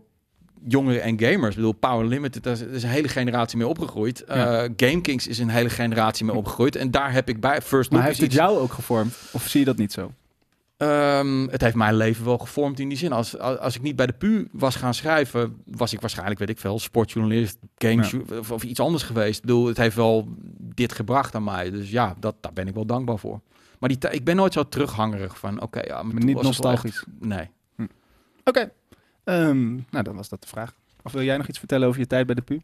S2: jongeren en gamers. Ik bedoel, Power Limited, daar is, daar is een hele generatie mee opgegroeid.
S1: Ja.
S2: Eh, GameKings is een hele generatie mee opgegroeid. En daar heb ik bij First
S1: maar
S2: Look
S1: heeft
S2: is
S1: het
S2: iets-
S1: jou ook gevormd? Of zie je dat niet zo?
S2: Ehm, het heeft mijn leven wel gevormd in die zin. Als, als als ik niet bij de PU was gaan schrijven, was ik waarschijnlijk, weet ik veel, sportjournalist, games of, of iets anders geweest. Ik bedoel, het heeft wel dit gebracht aan mij. Dus ja, dat, daar ben ik wel dankbaar voor. Maar die, tij- ik ben nooit zo terughangerig van, oké, ja, maar
S1: Maar
S2: toen
S1: niet
S2: was het wel echt-
S1: nostalgisch?
S2: Nee.
S1: Oké. Ehm, nou, dan was dat de vraag. Of wil jij nog iets vertellen over je tijd bij de PU?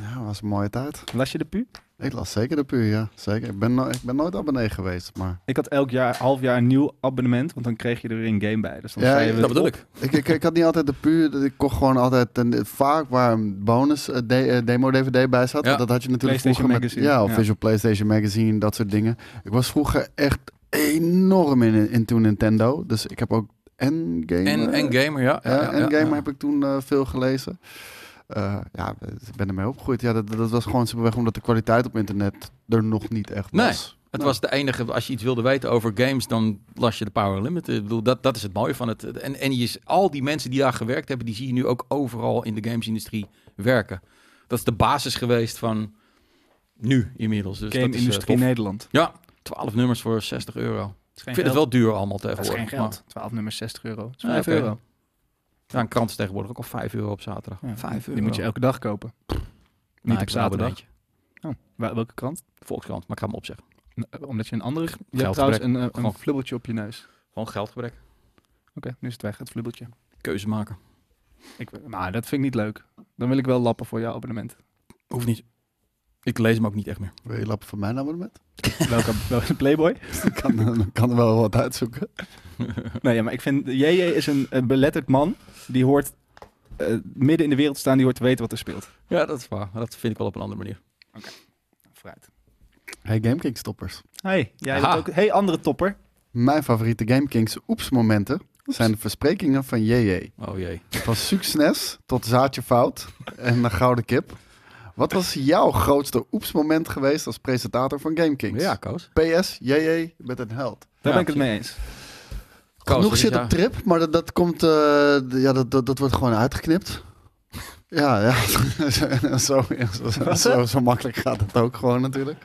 S3: Ja, was een mooie tijd.
S1: Las je de PU?
S3: Ik las zeker de puur, ja. Zeker. Ik ben, no- ik ben nooit abonnee geweest, maar...
S1: Ik had elk jaar, half jaar een nieuw abonnement, want dan kreeg je er weer een game bij. Dus dan
S3: Ja,
S1: zei je
S2: Dat
S3: ja,
S1: weer-
S2: bedoel ik.
S3: Ik, ik, ik had niet altijd de puur. dat Ik kocht gewoon altijd een, vaak waar een bonus eh, de- eh, demo DVD bij zat.
S2: Ja.
S3: Want dat had je natuurlijk
S1: PlayStation
S3: vroeger met,
S1: Magazine,
S3: ja, of
S1: ja.
S3: Visual PlayStation Magazine, dat soort dingen. Ik was vroeger echt enorm in, in toen Nintendo. Dus ik heb ook en game
S2: En, en gamer, ja.
S3: Ja, en Game heb ik toen eh, veel gelezen. Eh, ja, ik ben ermee opgegroeid. Ja, dat, dat was gewoon simpelweg omdat de kwaliteit op internet er nog niet echt
S2: Nee,
S3: was.
S2: Het
S3: Nou,
S2: was de enige, als je iets wilde weten over games, dan las je de Power Limit. Ik bedoel, dat, dat is het mooie van het. En, en je, is- al die mensen die daar gewerkt hebben, die zie je nu ook overal in de gamesindustrie werken. Dat is de basis geweest van nu inmiddels. Dus
S1: Game
S2: dat is, eh,
S1: Industrie
S2: tof.
S1: Nederland.
S2: Ja, 12 nummers voor 60 euro.
S1: Het is
S2: Ik
S1: geen
S2: vind het
S1: geld.
S2: wel duur allemaal
S1: Dat is
S2: tegenwoordig.
S1: geen geld. 12 nummers 60 euro. Dat is
S2: Ah,
S1: 5
S2: oké.
S1: euro.
S2: Maar, ja, een krant is tegenwoordig ook al 5 euro op zaterdag.
S1: Ja,
S2: 5 euro.
S1: Die moet je elke dag kopen.
S2: Nou,
S1: Niet op
S2: ik heb een
S1: zaterdag.
S2: abonnementje.
S1: Wel- Welke krant?
S2: Volkskrant, maar ik ga hem opzeggen.
S1: N- eh, Omdat je een andere... Je hebt
S2: Geldgebrek.
S1: trouwens een, eh, een
S2: Gewoon-
S1: flubbeltje op je neus. Oké,
S2: Gewoon geldgebrek.
S1: nu is het weg, het flubbeltje. nou,
S2: Keuze maken.
S1: Ik, maar dat vind ik niet leuk. Dan wil ik wel lappen voor jouw abonnement.
S2: Hoeft niet. Ik lees hem ook niet echt meer.
S3: Wil je lappen van mijn abonnement?
S1: Welke, welke Playboy?
S3: Ik kan, dan kan er wel wat uitzoeken.
S1: Nee, ja, maar ik vind... JJ is een, een beletterd man. Die hoort eh, midden in de wereld te staan. Die hoort te weten wat er speelt.
S2: Ja, dat is waar. Maar dat vind ik wel op een andere manier.
S1: Vooruit.
S3: Hey GameKings-toppers.
S1: Hey, jij
S2: Aha.
S1: bent ook... Hey, andere topper.
S3: Mijn favoriete GameKings oeps-momenten zijn de versprekingen van JJ.
S2: Oh jee.
S3: Van succes tot zaadje fout en de gouden kip. Wat was jouw grootste oeps-moment geweest als presentator van GameKings?
S2: Ja, Koos.
S3: PS, JJ, je bent een held.
S1: Daar
S2: Ja,
S1: ben ik het mee eens.
S2: Koos,
S3: Genoeg
S2: dit
S3: zit
S2: jaar-
S3: op trip, maar dat, dat komt, eh, d- ja, dat, dat, dat wordt gewoon uitgeknipt. Ja, ja. zo, zo, zo, zo, zo makkelijk gaat het ook gewoon natuurlijk.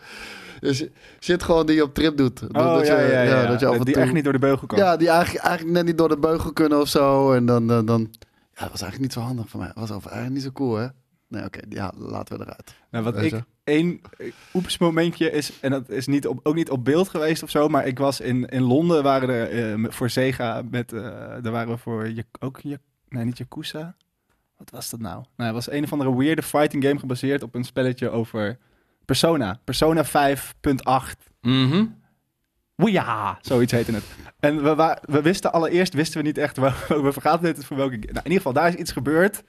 S3: Dus zit gewoon die je op trip doet. Dat-
S1: Oh,
S3: dat
S1: ja,
S3: je-
S1: ja, ja.
S3: dat je af en
S1: die
S3: toe-
S1: echt niet door de beugel kan.
S3: Ja, die eigenlijk, eigenlijk net niet door de beugel kunnen of zo. En dan, dan, dan ja, dat was eigenlijk niet zo handig voor mij. Was over eigenlijk niet zo cool, hè? Nee, oké, ja, laten we eruit.
S1: Nou, wat
S3: Weet
S1: ik
S3: je?
S1: één eh, oeps momentje is, en dat is niet op, ook niet op beeld geweest of zo, maar ik was in, in Londen, waren er eh, m- voor Sega met, eh, daar waren we voor Jak- ook, Jak- nee niet Yakuza, wat was dat nou? Nou, het was een of andere weirde fighting game gebaseerd op een spelletje over Persona, Persona 5.8.
S2: Mhm.
S1: Ja, zoiets heette het. En we, wa- we wisten allereerst, wisten we niet echt, waar, we vergaten het voor welke... Nou, in ieder geval, daar is iets gebeurd.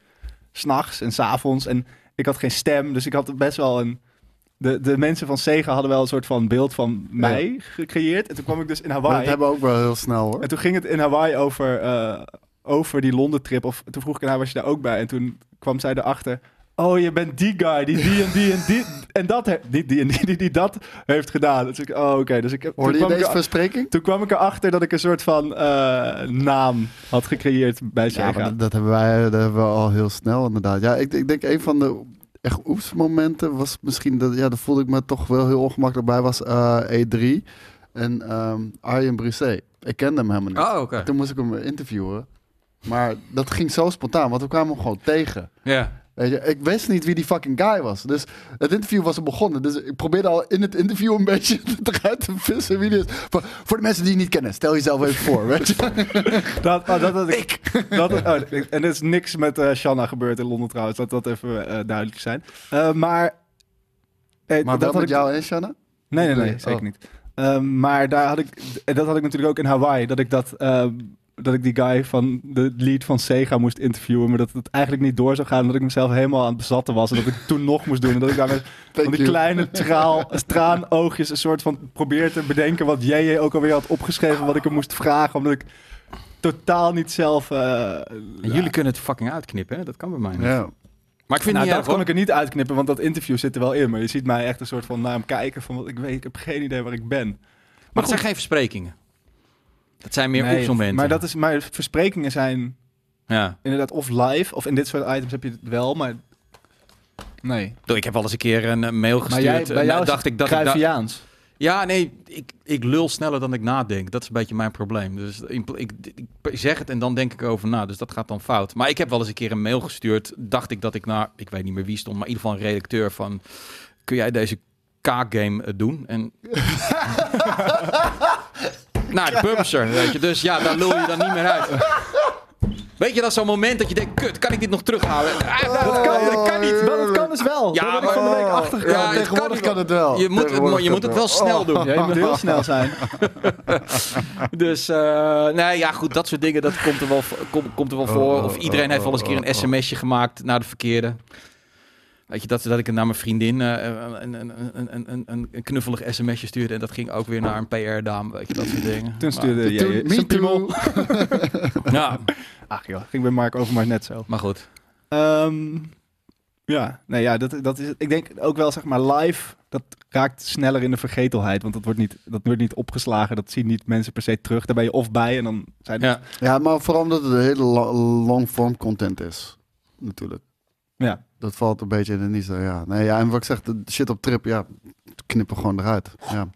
S1: S'nachts en s'avonds. En ik had geen stem, dus ik had best wel een... De, de mensen van Sega hadden wel een soort van beeld van mij gecreëerd. En toen kwam ik dus in
S3: Maar
S1: Hawaii.
S3: dat hebben we ook wel heel snel, hoor.
S1: En toen ging het in Hawaii over, eh, over die Londen-trip. Of toen vroeg ik aan haar, was je daar ook bij? En toen kwam zij erachter. Oh, je bent die guy die die en die en die en dat he- die, die en die, die, die dat heeft gedaan. Dus ik, oh, oké. Dus ik, heb- toen
S3: Hoorde je
S1: kwam ik
S3: deze
S1: er-
S3: verspreking?
S1: toen kwam ik erachter dat ik een soort van eh, naam had gecreëerd bij
S3: Ja,
S1: Sega.
S3: maar dat, dat hebben wij eh, dat hebben we al heel snel, inderdaad. Ja, ik, ik denk een van de echt oeps-momenten was misschien... Dat, ja, daar voelde ik me toch wel heel ongemakkelijk bij, was eh, E3 en ehm Arjen Brisset. Ik kende hem helemaal niet.
S1: Ah.
S2: Oh, oké.
S3: Toen moest ik hem interviewen. Maar dat ging zo spontaan, want we kwamen hem gewoon tegen.
S2: Ja.
S3: Weet je, ik wist niet wie die fucking guy was. Dus het interview was al begonnen. Dus ik probeerde al in het interview een beetje eruit te vissen wie die is. Voor, voor de mensen die je niet kennen, stel jezelf even voor. Weet je?
S1: Dat, oh, dat, had ik. Dat, oh, ik- en er is niks met eh, Shanna gebeurd in Londen trouwens. Dat dat even eh, duidelijk zijn. Eh, maar... eh, dat
S3: Maar wel
S1: had
S3: met
S1: ik-
S3: jou en Shanna?
S1: Nee, nee, nee,
S3: Nee,
S1: zeker
S3: oh.
S1: niet. Ehm, maar daar had ik, en dat had ik natuurlijk ook in Hawaii, dat ik dat, ehm, dat ik die guy van de lead van Sega moest interviewen, maar dat het eigenlijk niet door zou gaan, omdat ik mezelf helemaal aan het bezatten was en dat ik het toen nog moest doen en dat ik daar met van die
S3: you.
S1: kleine traal, traanoogjes een soort van probeer te bedenken wat JJ ook alweer had opgeschreven, wat ik hem moest vragen, omdat ik totaal niet zelf. eh,
S2: En jullie kunnen het fucking uitknippen, hè? Dat kan bij mij niet.
S3: Ja.
S2: Maar ik vind
S1: nou,
S2: het
S1: dat
S2: niet
S1: kon
S2: erg,
S1: ik er niet uitknippen, want dat interview zit er wel in. Maar je ziet mij echt een soort van naar hem kijken van, wat ik weet, ik heb geen idee waar ik ben.
S2: hoor. Maar het zijn geen versprekingen. Dat zijn meer
S1: Nee,
S2: oepsmomenten.
S1: Maar, dat is, maar versprekingen zijn
S2: Ja.
S1: inderdaad of live, of in dit soort items heb je het wel, maar... Nee.
S2: Doe, Ik heb wel eens een keer een eh, mail gestuurd.
S1: jij-
S2: eh,
S1: bij jou
S2: nou,
S1: is
S2: dacht ik dat ik da-
S1: Cruyffiaans.
S2: Ja, nee, ik, ik lul sneller dan ik nadenk. Dat is een beetje mijn probleem. Dus in pla- ik, ik zeg het en dan denk ik over na. Dus dat gaat dan fout. Maar ik heb wel eens een keer een mail gestuurd. Dacht ik dat ik naar, ik weet niet meer wie stond, maar in ieder geval een redacteur van... Kun jij deze K-game eh, doen? En... nou, de publisher, weet je. Dus ja, daar lul je dan niet meer uit. Weet je, dat is zo'n moment dat je denkt... Kut, kan ik dit nog terughalen? Ah,
S1: Dat kan, dat kan niet, maar dat kan dus wel.
S2: Ja,
S1: Daar ben ik van de week achter.
S2: Ja, het
S3: tegenwoordig
S2: kan niet.
S3: kan het wel.
S2: Je moet, het,
S3: Tegenwoordig
S2: je moet
S3: kan
S2: het
S3: het
S2: wel
S3: wel.
S2: snel doen.
S1: Ja, je moet heel snel zijn.
S2: Dus, eh, nee, ja, goed, dat soort dingen, dat komt er wel, vo- kom- komt er wel voor.
S3: oh,
S2: of iedereen
S3: oh,
S2: heeft wel eens een keer
S3: oh,
S2: een sms'je gemaakt naar de verkeerde. Weet je, dat, dat ik naar mijn vriendin eh, een, een, een, een- een, een, een knuffelig sms'je stuurde. En dat ging ook weer naar een PR-dame, weet je, dat soort dingen.
S1: Toen stuurde
S3: Toen-
S1: jij
S3: me
S1: zijn
S3: too.
S1: piemel.
S2: Maar, ja,
S1: Ach joh, ging bij Mark over maar net zo.
S2: maar goed.
S1: Ehm, ja, nee, ja, dat, dat is het. Ik denk ook wel, zeg maar, live, dat raakt sneller in de vergetelheid. Want dat wordt niet, dat wordt niet opgeslagen, dat zien niet mensen per se terug. Daar ben je of bij en dan zijn er
S2: Ja.
S3: Ja, maar vooral omdat het een hele lo- long-form content is. Natuurlijk.
S1: Ja.
S3: Dat valt een beetje in de niche. Ja. Nee, ja, en wat ik zeg, de shit op trip, ja, knippen gewoon eruit. Ja,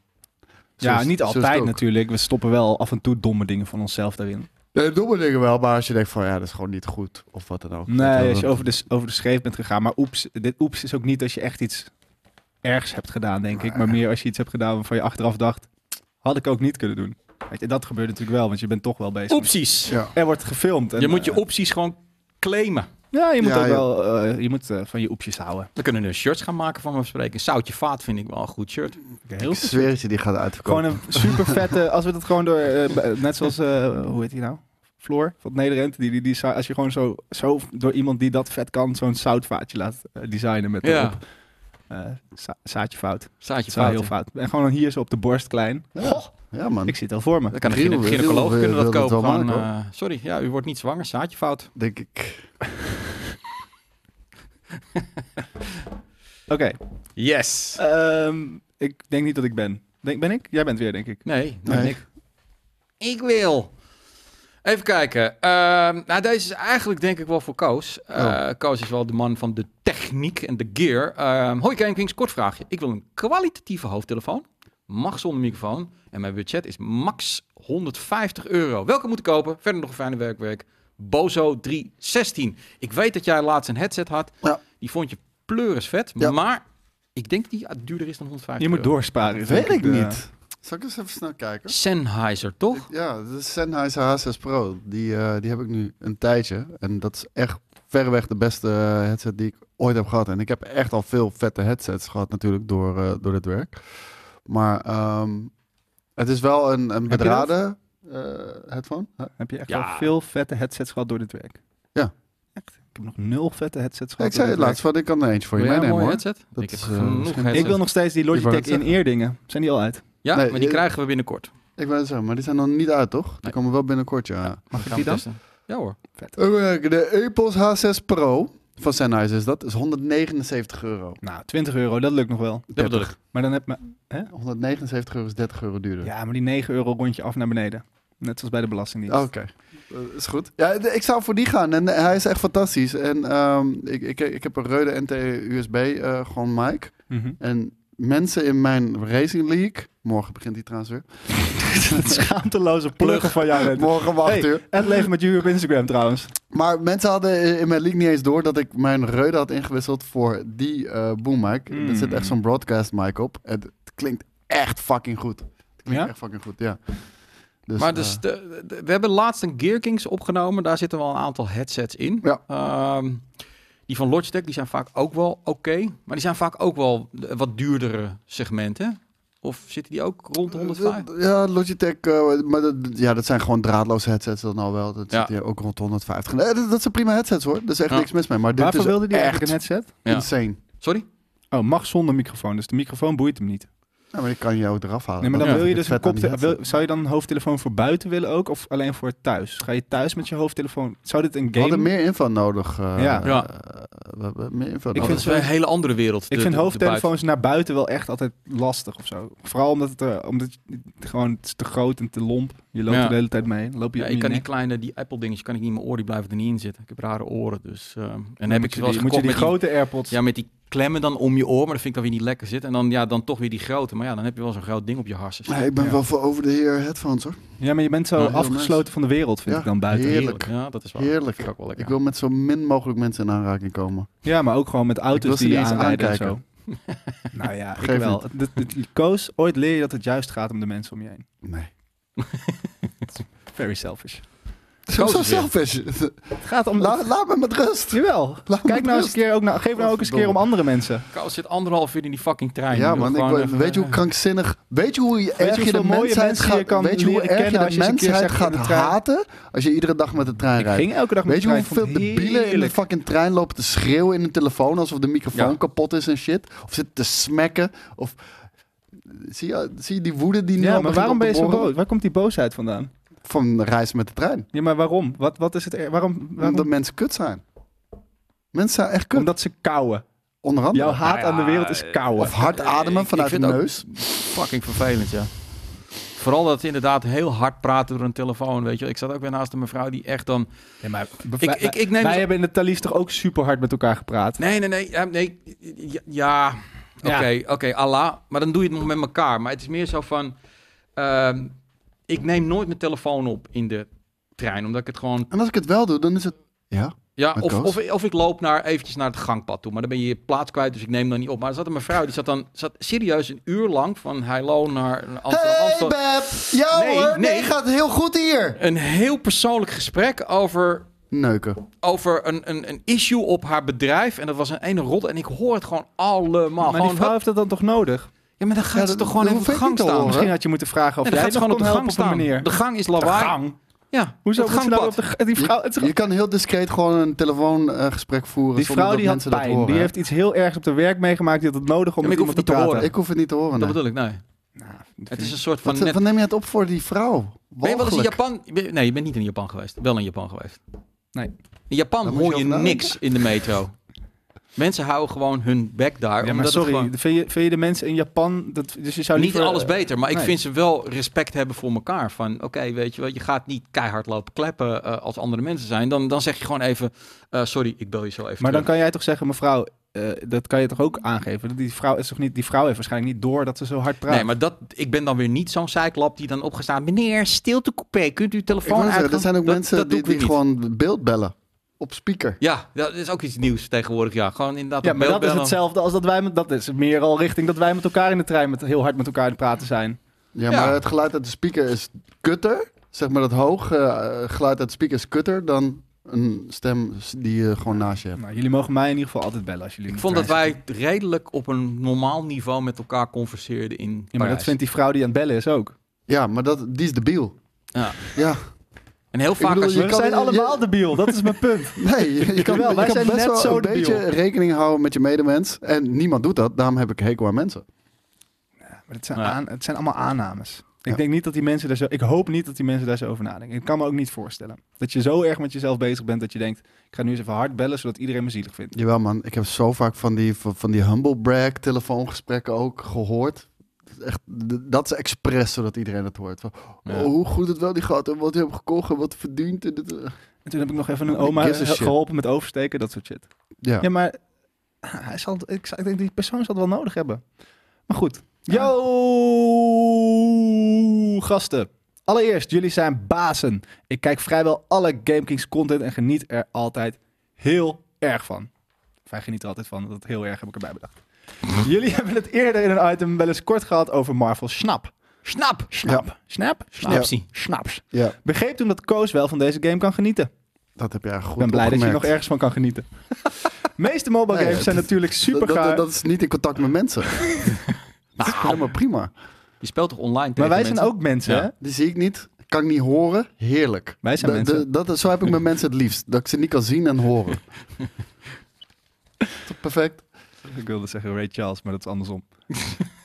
S1: Ja,
S3: Zo is-
S1: niet
S3: zo is het
S1: altijd
S3: ook.
S1: natuurlijk. We stoppen wel af en toe domme dingen van onszelf daarin.
S3: Ja, domme dingen wel, Eh, maar als je denkt van ja, dat is gewoon niet goed of wat dan ook. Weet
S1: Nee,
S3: wel,
S1: als je
S3: dat-
S1: over de, over de scheef bent gegaan. Maar oeps, dit oeps is ook niet als je echt iets ergs hebt gedaan, denk ik. Maar meer als je iets hebt gedaan waarvan je achteraf dacht, had ik ook niet kunnen doen. Weet je, dat gebeurt natuurlijk wel, want je bent toch wel bezig. met-
S2: Opties.
S3: Ja.
S1: Er wordt gefilmd. En,
S2: Je moet je
S1: eh,
S2: opties gewoon claimen.
S1: Ja, je moet
S3: Ja,
S1: ook
S3: joh.
S1: wel eh, je moet, eh, van je oepjes houden.
S2: We kunnen er shirts gaan maken van mijn spreken. Zoutje vaat vind ik wel een goed shirt.
S1: Heel
S3: Ik zweer het je, die gaat uitverkopen.
S1: Gewoon een super vette, als we dat gewoon door, eh, b- net zoals, eh, hoe heet die nou? Floor van het Nederend, die, die, die, zou- als je gewoon zo, zo door iemand die dat vet kan, zo'n zoutvaatje laat eh, designen met
S2: Ja.
S1: erop. eh, za- zaadje fout.
S2: Zaadje
S1: Het is wel
S2: vaat.
S1: heel fout. En gewoon hier zo op de borst klein. Goh,
S3: Ja, man.
S1: ik
S3: Ik
S1: zie het al voor me.
S2: Dan kan een
S3: Riel-
S2: gyne-
S3: Riel
S2: gynaecoloog
S3: wil-
S2: kunnen dat
S3: wil dat
S2: kopen.
S3: wel
S2: Gewoon,
S3: maken,
S2: eh, sorry, ja, u wordt niet zwanger. Zaadje fout.
S3: denk ik.
S1: Oké,
S2: Yes.
S1: ehm, ik denk niet dat ik ben. Denk, ben ik? Jij bent weer, denk ik.
S2: Nee,
S3: Nee.
S2: nee. Ik. ik wil. Even kijken. Ehm, nou, deze is eigenlijk denk ik wel voor Koos. Eh,
S3: Oh.
S2: Koos is wel de man van de techniek en de gear. Ehm, hoi Game Kings, kort vraagje. Ik wil een kwalitatieve hoofdtelefoon. Mag zonder microfoon. En mijn budget is max 150 euro. Welke moet ik kopen? Verder nog een fijne werkweek. Bozo 316. Ik weet dat jij laatst een headset had.
S3: Ja.
S2: Die vond je pleuris vet.
S3: Ja.
S2: Maar ik denk die duurder is dan 150
S1: Je moet
S2: euro.
S1: doorsparen.
S3: Dat
S1: denk eh,
S3: weet ik
S1: De-
S3: niet. Zal ik eens even snel kijken?
S2: Sennheiser, toch?
S3: Ja, de Sennheiser H6 Pro. Die, eh, die heb ik nu een tijdje. En dat is echt verreweg de beste eh, headset die ik ooit heb gehad. En ik heb echt al veel vette headsets gehad natuurlijk door, eh, door dit werk. Maar ehm, het is wel een, een
S1: Heb je dat? Oh,
S3: bedraden eh, headphone. Huh?
S1: Heb je echt
S2: Ja.
S1: al veel vette headsets gehad door dit werk?
S3: Ja.
S1: Echt? Ik heb nog nul vette headsets gehad.
S3: ik zei
S1: door
S3: het
S1: dit
S3: laatst, want ik kan er eentje voor je
S2: Wil jij een
S3: meenemen
S2: mooie
S3: hoor.
S2: headset?
S3: Dat
S2: ik heb
S3: is, eh,
S2: genoeg
S3: misschien-
S1: werk.
S2: headsets.
S1: Ik wil nog steeds die
S3: wou
S1: Logitech
S3: net zeggen.
S1: in-eerdingen. Zijn die al uit?
S2: Ja,
S3: Nee,
S2: maar die
S3: eh,
S2: krijgen we binnenkort.
S3: Ik wil het zeggen, maar die zijn nog niet uit toch? Die
S2: Nee.
S3: komen wel binnenkort ja.
S1: Mag
S2: Gaan
S1: ik
S2: we
S1: die dan?
S2: testen. Ja hoor.
S3: Even kijken, eh, De Epos H6 Pro van Sennheiser is dat. is 179 euro.
S1: Nou, 20 euro, dat lukt nog wel.
S2: Dat bedoel ik.
S1: Maar dan heb me...
S3: 179 euro is 30 euro duurder.
S1: Ja, maar die 9 euro rondje af naar beneden. Net zoals bij de Belastingdienst.
S3: Oké, Eh, is goed. Ja, d- ik zou voor die gaan en eh, hij is echt fantastisch. En ehm, ik, ik, ik heb een Rode NT-USB, eh, gewoon mic.
S1: Mhm.
S3: En mensen in mijn Racing League, morgen begint die trouwens weer.
S1: Dat schaamteloze pluggen van jou. Rente.
S3: Morgen om 8
S1: Hey.
S3: uur.
S1: En leven met jullie op Instagram trouwens.
S3: Maar mensen hadden in mijn league niet eens door dat ik mijn Rode had ingewisseld voor die eh boom mic.
S1: Mm.
S3: Er zit echt zo'n broadcast mic op. En het klinkt echt fucking goed. Het klinkt
S1: Ja?
S3: echt fucking goed, ja. Dus,
S2: maar
S3: eh,
S2: dus de- de- we hebben laatst een Gear Kings opgenomen. Daar zitten wel een aantal headsets in.
S3: Ja.
S2: Ehm, die van Logitech die zijn vaak ook wel oké. maar die zijn vaak ook wel de- wat duurdere segmenten. Of zitten die ook rond
S1: Eh,
S2: de 105?
S3: eh, Ja, Logitech, eh, maar dat, ja, dat zijn gewoon draadloze headsets dan al wel. Dat
S2: Ja.
S3: zit hier ook rond de 150. Eh, dat, dat zijn prima headsets hoor, daar is echt
S2: Ja.
S3: niks mis mee. Maar dit
S1: Waarvoor
S3: is
S1: wilde die
S3: echt
S1: eigenlijk een headset?
S2: Ja.
S3: insane.
S2: Sorry?
S1: Oh, mag zonder microfoon. Dus de microfoon boeit hem niet.
S3: Ja, maar die kan je ook eraf halen.
S1: Nee, maar dan
S2: Ja.
S1: wil je
S3: vind
S1: dus
S3: Oh, ik
S1: een
S3: het vet aan
S1: kopte-
S3: die
S1: wil- Zou je dan een hoofdtelefoon voor buiten willen ook? Of alleen voor thuis? Ga je thuis met je hoofdtelefoon... Zou dit een
S3: We hadden
S1: game...
S3: meer info nodig. eh,
S1: Ja.
S2: Ja.
S3: eh, we hebben meer info
S1: Ik
S2: Ik
S3: nodig.
S2: vind het een hele andere wereld.
S1: Ik
S2: de-
S1: vind
S2: de- de
S1: hoofdtelefoons naar buiten wel echt altijd lastig of zo. Vooral omdat het, eh, omdat je- gewoon, het is te groot en te lomp. Je loopt
S2: Ja.
S1: er de hele tijd mee. Dan Loop je
S2: buiten.
S1: op
S2: Ja, ik
S1: je
S2: kan die
S1: nek.
S2: kleine, die Apple dingetjes, kan ik niet in mijn oor. Die blijven er niet in zitten. Ik heb rare oren. Dus, ehm, en
S1: Dan
S2: heb
S1: moet
S2: ik
S1: je
S2: wel eens
S1: die, moet je
S2: gekocht
S1: die
S2: met die
S1: grote AirPods.
S2: Ja, met die klemmen dan om je oor, maar dat vind ik dan weer niet lekker zitten. En dan, ja, dan toch weer die grote. Maar ja, dan heb je wel zo'n groot ding op je harsen. zitten.
S3: Nee, ik ben
S1: Ja.
S3: wel voor over de heer headphones hoor.
S1: Ja, maar je bent zo
S2: Ja, heel
S1: afgesloten van de wereld, vind
S3: Ja,
S1: ik dan buiten.
S3: heerlijk.
S2: Ja, dat is wel
S3: Heerlijk.
S2: Vind ik ook wel lekker.
S3: Ik wil met zo min mogelijk mensen in aanraking komen.
S1: Ja, maar ook gewoon met auto's
S3: wil ze
S1: die je
S3: niet eens
S1: aanrijden en zo.
S3: aankijken.
S1: nou ja, ik
S3: Geef
S1: wel. Het- het- het- Koos, ooit leer je dat het juist gaat om de mensen om je heen.
S3: Nee.
S1: Very selfish.
S2: Koos
S3: Zo
S2: is weer.
S3: selfish.
S1: Het gaat om...
S3: Laat, laat me met rust.
S1: Jawel.
S3: Laat me
S1: Kijk nou
S3: met
S1: eens een
S3: rust.
S1: keer ook naar, geef nou ook eens een keer om andere mensen.
S2: Koos zit anderhalf uur in die fucking trein.
S3: Ja,
S2: Ik wil
S3: man, ik,
S2: gewoon
S3: wil-
S2: even- eh,
S3: weet je hoe krankzinnig. Weet je hoe je
S1: eh, je
S3: erg je
S1: hoeveel
S3: de
S1: mooie
S3: mensheid
S1: mensen je
S3: gaat,
S1: kan
S3: weet je hoe
S1: leren
S3: erg je
S1: kennen als je
S3: de
S1: eens een keer
S3: mensheid
S1: zegt in
S3: gaat
S1: de trein?
S3: haten als je iedere dag met de trein
S1: Ik
S3: rijdt?
S1: ging elke dag met
S3: Weet je
S1: de trein.
S3: hoeveel
S1: Ik vond het
S3: debielen in de
S1: heerlijk.
S3: fucking trein lopen te schreeuwen in hun telefoon alsof de microfoon
S2: Ja.
S3: kapot is en shit? Of zitten te smekken? Of... Zie, je, zie je die woede die nu
S1: Ja,
S3: al
S1: maar
S3: begint
S1: waarom
S3: op
S1: ben
S3: te
S1: je zo
S3: borrelen?
S1: boos? Waar komt die boosheid vandaan?
S3: Van reizen met de trein.
S1: Ja, maar waarom? Wat, wat is het? er- Waarom? waarom
S3: Omdat mensen kut zijn. Mensen zijn echt kut.
S1: Omdat ze kauwen.
S3: Onder andere.
S1: Jouw haat
S2: ja,
S1: aan de wereld is kauwen.
S3: Of hard ademen
S2: Eh, Ik-
S3: vanuit
S2: ik
S3: de
S2: vind ook-
S3: neus.
S2: Fucking vervelend, ja. Vooral dat ze inderdaad heel hard praten door een telefoon, weet je wel. Ik zat ook weer naast een mevrouw die echt dan... Ik, ik, ik
S1: wij
S2: neem... dus-
S1: hebben in de Thalys toch ook super hard met elkaar gepraat?
S2: Nee, nee, nee. eh, nee ja, ja. Oké,
S1: Ja.
S2: oké, Allah. Maar dan doe je het nog met elkaar. Maar het is meer zo van... ehm, ik neem nooit mijn telefoon op in de trein, omdat ik het gewoon
S3: En als ik het wel doe, dan is het... Ja?
S2: Ja,
S3: Met
S2: of,
S3: Koos?
S2: of, of ik loop naar, eventjes naar het gangpad toe. Maar dan ben je je plaats kwijt, dus ik neem dan niet op. Maar er zat een mevrouw, die zat dan zat serieus een uur lang van Heilo naar Amsterdam.
S3: Hey
S2: Amsterdam.
S3: Beb! Ja
S2: Nee,
S3: hoor, nee.
S2: nee.
S3: gaat heel goed hier.
S2: Een heel persoonlijk gesprek over
S3: Neuken.
S2: over een, een, een issue op haar bedrijf. En dat was een ene rot. En ik hoor het gewoon allemaal.
S1: maar die
S2: Gewoon,
S1: vrouw heeft dat dan toch nodig?
S2: Ja, maar dan gaat
S3: Ja,
S2: ze
S3: dat-
S2: toch gewoon
S3: dat
S2: even op de
S3: hoef ik
S2: gang
S3: niet te
S2: staan. Misschien-
S3: horen.
S1: Misschien had je moeten vragen of
S2: Nee, dan
S1: jij
S2: gaat ze gewoon op de gang
S1: op een
S2: staan.
S1: manier.
S2: De gang is lawaai. Ja,
S1: Hoezo
S2: het
S1: moet ze nou op
S2: gangpad.
S1: de g- die vrouw, het is
S3: Je
S1: gewoon-
S3: kan heel discreet gewoon een telefoongesprek voeren.
S1: die
S3: zonder
S1: vrouw
S3: dat
S1: die had
S3: mensen dat
S1: pijn.
S3: horen,
S1: Die
S3: hè?
S1: heeft iets heel ergs op de werk meegemaakt. Die had het nodig om
S2: Ja, maar
S1: met
S2: ik hoef
S1: iemand te
S2: het niet te
S1: praten.
S3: Ik hoef het niet te horen.
S2: Dat
S3: nee.
S2: bedoel ik, nee.
S1: Nou, dat vind
S2: Het
S1: ik-
S2: is een soort van
S3: Wat,
S2: net...
S3: wat neem je het op voor die vrouw?
S2: Ben je wel eens in
S3: Walgelijk.
S2: Japan... Nee, je bent niet in Japan geweest. Wel in Japan geweest.
S1: Nee.
S2: In Japan
S3: Daar moet je
S2: hoor je
S3: over nadenken.
S2: niks in de metro. Mensen houden gewoon hun bek daar.
S1: Ja, maar
S2: omdat
S1: sorry,
S2: Het gewoon...
S1: vind, je, vind je de mensen in Japan... Dat, dus je zou
S2: Niet
S1: liever,
S2: alles
S1: eh,
S2: beter, maar ik
S1: nee.
S2: vind ze wel respect hebben voor elkaar. Van oké, weet je wel, je gaat niet keihard lopen kleppen eh, als andere mensen zijn. Dan, dan zeg je gewoon even, eh, sorry, ik bel je zo even
S1: Maar dan
S2: terug.
S1: kan jij toch zeggen, mevrouw... eh, dat kan je toch ook aangeven? Dat Die vrouw, is toch niet, die vrouw heeft waarschijnlijk niet door dat ze zo hard praat.
S2: Nee, maar dat, ik ben dan weer niet zo'n zeiklap die dan opgestaan... Meneer, stilte coupé, kunt u uw
S3: Ik wou
S2: telefoon
S3: zeggen,
S2: uit?
S3: er zijn ook
S2: Dat-
S3: mensen
S2: dat doe
S3: die,
S2: ik weer
S3: die
S2: niet.
S3: gewoon beeldbellen. Op speaker.
S2: Ja, dat is ook iets nieuws tegenwoordig. Ja, gewoon inderdaad
S1: ja,
S2: op
S1: maar dat is
S2: beeldbellen.
S1: hetzelfde als dat wij... Met, dat is meer al richting dat wij met elkaar in de trein... Met, heel hard met elkaar aan het praten zijn.
S3: Ja,
S2: Ja.
S3: maar het geluid uit de speaker is kutter. Zeg maar dat hoog eh, geluid uit de speaker is kutter dan een stem die je gewoon naast je hebt.
S1: Nou, jullie mogen mij in ieder geval altijd bellen als jullie in
S2: Ik
S1: de
S2: vond dat
S1: trein
S2: wij redelijk op een normaal niveau met elkaar converseerden in
S1: zitten. Ja, maar dat vindt die vrouw die aan het bellen is ook.
S3: Ja, maar dat, die is debiel.
S2: Ja.
S3: Ja,
S2: En heel vaak
S3: bedoel,
S2: als
S3: je
S1: We
S3: kan-
S1: zijn
S3: je-
S1: allemaal debiel, dat is mijn punt.
S3: nee, je, je kan,
S1: Jawel,
S3: je
S1: wij
S3: kan
S1: zijn
S3: best
S1: net
S3: wel
S1: zo
S3: een beetje
S1: debiel.
S3: rekening houden met je medemens. En niemand doet dat, daarom heb ik hekel aan mensen.
S1: Maar het zijn,
S2: Ja.
S1: aan, het zijn allemaal aannames. Ik
S3: Ja.
S1: denk niet dat die mensen daar zo. Ik hoop niet dat die mensen daar zo over nadenken. Ik kan me ook niet voorstellen. Dat je zo erg met jezelf bezig bent dat je denkt. Ik ga nu eens even hard bellen, zodat iedereen me zielig vindt.
S3: Jawel man, ik heb zo vaak van die, van, van die humble brag telefoongesprekken ook gehoord. Echt, d- dat is expres zodat iedereen het hoort. Van,
S2: Ja.
S3: oh, hoe goed het wel die gaat en wat hij heeft gekocht en wat verdient. En dit, eh.
S1: En toen heb ik nog even een
S3: Nobody
S1: oma
S3: gives a
S1: he-
S3: shit.
S1: geholpen met oversteken, dat soort shit.
S3: Ja.
S1: Ja, maar ah, hij zal, ik, zou- ik denk die persoon zal het wel nodig hebben. Maar goed. Yo, gasten. Allereerst, jullie zijn bazen. Ik kijk vrijwel alle GameKings content en geniet er altijd heel erg van. Of hij geniet er altijd van, dat heel erg heb ik erbij bedacht. jullie hebben het eerder in een item wel eens kort gehad over Marvel Snap.
S2: Snap!
S1: Snap. Snap?
S2: Snapsie.
S1: Snaps.
S3: ja,
S1: Begreep toen dat Koos wel van deze game kan genieten.
S3: dat heb je eigenlijk
S1: Ik ben
S3: goed
S1: blij dat je
S3: opgemerkt.
S1: nog ergens van kan genieten. meeste mobile
S3: Nee,
S1: games
S3: het-
S1: zijn natuurlijk
S3: Dat-
S1: super
S3: dat,
S1: gaar.
S3: dat, is niet in contact met mensen. dat is helemaal prima.
S2: Je speelt toch online tegen
S1: Maar wij zijn
S2: mensen?
S1: ook mensen,
S2: Ja.
S1: hè?
S3: Die zie ik niet, kan ik niet horen. Heerlijk.
S1: Wij zijn
S3: De-
S1: mensen.
S3: de- dat, is- zo heb ik mijn mensen het liefst. Dat ik ze niet kan zien en horen. Toch Perfect.
S1: Ik wilde zeggen Ray Charles, maar dat is andersom.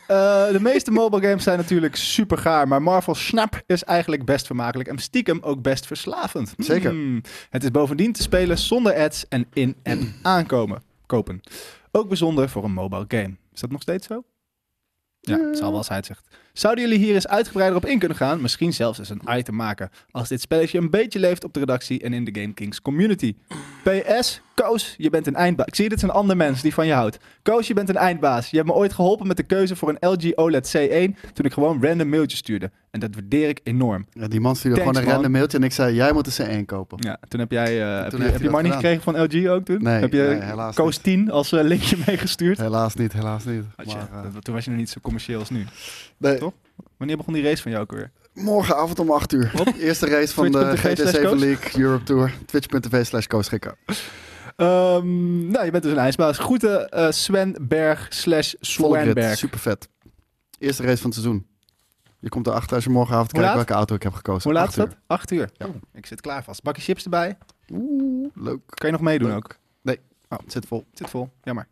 S1: Eh, de meeste mobile games zijn natuurlijk super gaar, maar Marvel Snap is eigenlijk best vermakelijk en stiekem ook best verslavend.
S3: Zeker.
S1: Hmm. Het is bovendien te spelen zonder ads en in-app aankomen, kopen. Ook bijzonder voor een mobile game. Is dat nog steeds zo? Ja, het zal wel als hij het zegt. Zouden jullie hier eens uitgebreider op in kunnen gaan? Misschien zelfs eens een item maken. Als dit spelletje een beetje leeft op de redactie en in de Game Kings community. PS, Koos, je bent een eindbaas. Ik zie, dit is een ander mens die van je houdt. Koos, je bent een eindbaas. Je hebt me ooit geholpen met de keuze voor een LG OLED C1 toen ik gewoon random mailtjes stuurde. En dat waardeer ik enorm.
S3: Ja, die man stuurde
S1: Thanks,
S3: gewoon een random
S1: man.
S3: mailtje en ik zei, jij moet een C1 kopen.
S1: Ja, toen heb jij, eh, heb je,
S3: Oh. heeft hij
S1: heb je
S3: dat
S1: money
S3: gedaan.
S1: gekregen van LG ook toen?
S3: Nee,
S1: heb je
S3: nee, helaas
S1: Koos
S3: niet.
S1: 10 als eh, linkje meegestuurd?
S3: Helaas niet, helaas niet.
S1: Had je-
S3: Maar, eh,
S1: Ah, dat- toen was je nog niet zo commercieel als nu.
S3: nee,
S1: toch? Wanneer begon die race van jou ook weer?
S3: morgenavond om 8 uur. Eerste race van de
S1: Twitch.tv slash
S3: GT7
S1: Koos?
S3: League Europe Tour. Twitch.tv slash koosgekko.
S1: Ehm, nou, je bent dus een ijsbaas. Groeten eh, Sven Berg slash
S3: Volgrit,
S1: Swanberg.
S3: super vet. Eerste race van het seizoen. Je komt erachter als je morgenavond
S1: Hoe
S3: kijkt
S1: laat?
S3: welke auto ik heb gekozen.
S1: Hoe laat is
S3: Acht uur.
S1: dat? Acht uur.
S3: Ja.
S1: Oeh, ik zit klaar vast. Bakje chips erbij.
S3: Oeh, leuk.
S1: Kan je nog meedoen ook?
S3: Het zit vol.
S1: Zit vol. Jammer.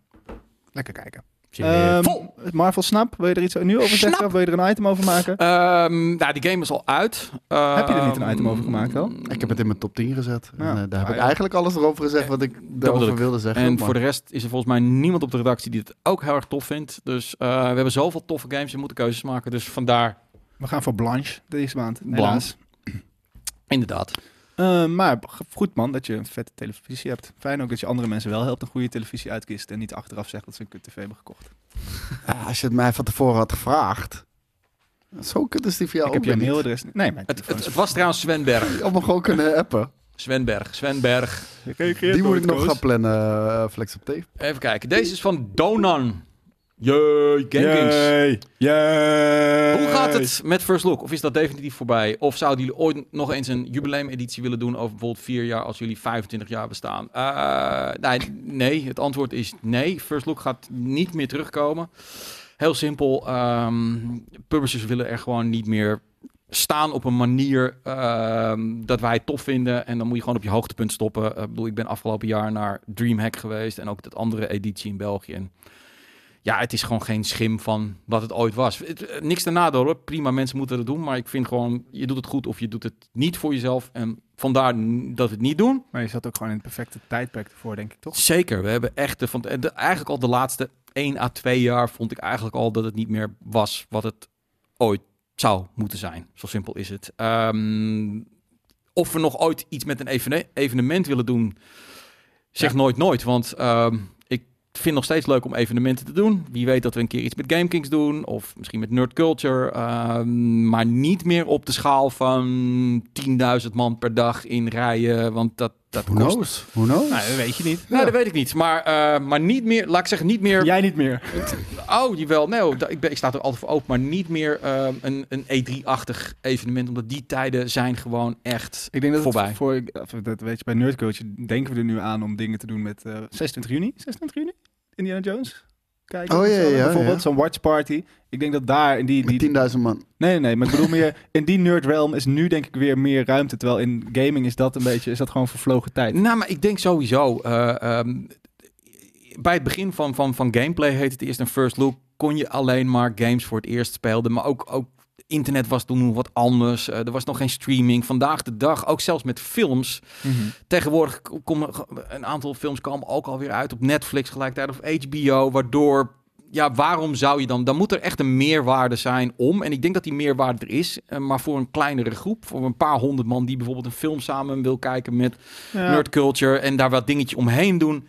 S1: Lekker kijken.
S2: Ehm,
S1: Ehm, het Marvel Snap, wil je er iets nu over zeggen?
S2: Snap.
S1: Of wil je er een item over maken?
S2: Ehm, nou, die game is al uit.
S1: Heb je er niet een
S2: Ehm,
S1: item over gemaakt wel?
S3: Ik heb het in mijn top 10 gezet. En,
S1: Ja.
S3: eh, daar heb
S1: Ah,
S3: ik
S1: ja.
S3: eigenlijk alles erover gezegd wat ik
S2: bedoel
S3: daarover
S2: ik.
S3: wilde zeggen.
S2: En
S3: maar-
S2: voor de rest is er volgens mij niemand op de redactie die het ook heel erg tof vindt. Dus eh, we hebben zoveel toffe games, we moeten keuzes maken. Dus vandaar,
S1: We gaan voor Blanche deze maand.
S2: Blanche.
S1: Helaas.
S2: inderdaad.
S1: Eh, maar g- goed man, dat je een vette televisie hebt. Fijn ook dat je andere mensen wel helpt een goede televisie uitkiest. En niet achteraf zegt dat ze een kut tv hebben gekocht.
S3: Ah, als je het mij van tevoren had gevraagd. Zo kut is die voor jou
S1: ik heb
S3: ook
S1: je
S3: weer niet.
S1: mailadres. niet. Nee, mijn
S2: Het,
S1: telefoon is-
S2: het, het was trouwens Sven Berg.
S3: Je had me gewoon kunnen appen.
S2: Sven Berg, Sven Berg.
S3: Die moet ik nog gaan plannen, eh, Flex op tape.
S2: Even kijken, deze is van Donan. Yay, Gangings.
S1: Yay. Yay.
S2: Hoe gaat het met First Look? Of is dat definitief voorbij? Of zouden jullie ooit nog eens een jubileumeditie willen doen over bijvoorbeeld vier jaar als jullie 25 jaar bestaan? Eh, nee, nee, het antwoord is nee. First Look gaat niet meer terugkomen. Heel simpel. ehm, publishers willen er gewoon niet meer staan op een manier ehm, dat wij het tof vinden. En dan moet je gewoon op je hoogtepunt stoppen. Eh, ik bedoel, ik ben afgelopen jaar naar Dreamhack geweest en ook dat andere editie in België. En ja, het is gewoon geen schim van wat het ooit was. Het- eh, niks te nadeel hoor. Prima, mensen moeten dat doen. Maar ik vind gewoon, je doet het goed of je doet het niet voor jezelf. En vandaar n- dat we het niet doen.
S1: Maar je zat ook gewoon in het perfecte tijdperk ervoor, denk ik, toch?
S2: Zeker, we hebben echt de, van, de- eigenlijk al de laatste 1 à 2 jaar vond ik eigenlijk al dat het niet meer was wat het ooit zou moeten zijn. Zo simpel is het. Ehm, of we nog ooit iets met een evene- evenement willen doen, zeg
S1: Ja.
S2: nooit nooit. Want ehm, ik vind nog steeds leuk om evenementen te doen. Wie weet dat we een keer iets met GameKings doen of misschien met Nerd Culture. ehm, maar niet meer op de schaal van 10.000 man per dag in rijen, want dat, dat
S3: Who
S2: kost
S3: knows? Who knows?
S1: Nou, dat weet je niet.
S2: nou, dat weet ik niet. Maar, eh, maar niet meer, laat ik zeggen, niet meer...
S1: Jij niet meer.
S2: Oh, jawel, nee, oh, da- ik, ben, ik sta er altijd voor open. Maar niet meer eh, een, een E3-achtig evenement. Omdat die tijden zijn gewoon echt...
S1: Ik denk dat
S2: Voorbij.
S1: het voor... of Dat weet je, bij Nerdcoach denken we er nu aan om dingen te doen met eh 26 juni. 26 juni? Indiana Jones? Kijken.
S3: Oh,
S1: of
S3: ja,
S1: zo.
S3: ja, ja.
S1: Bijvoorbeeld zo'n watch party. Ik denk dat daar in die... die
S3: Met 10.000 man.
S1: nee, nee, nee. Maar ik bedoel meer... In die nerd realm is nu denk ik weer meer ruimte. Terwijl in gaming is dat een beetje... Is dat gewoon vervlogen tijd.
S2: Nou, maar ik denk sowieso... eh, ehm, bij het begin van, van, van gameplay heet het eerst een first look. Kon je alleen maar games voor het eerst speelden. Maar ook, ook internet was toen nog wat anders. Eh, er was nog geen streaming. Vandaag de dag, ook zelfs met films... Tegenwoordig k- komen ge- een aantal films komen ook alweer uit op Netflix gelijktijdig of HBO, waardoor ja, waarom zou je dan? Dan moet er echt een meerwaarde zijn om. En ik denk dat die meerwaarde er is, eh, maar voor een kleinere groep, voor een paar honderd man die bijvoorbeeld een film samen wil kijken met
S1: Ja.
S2: nerd culture en daar wat dingetje omheen doen.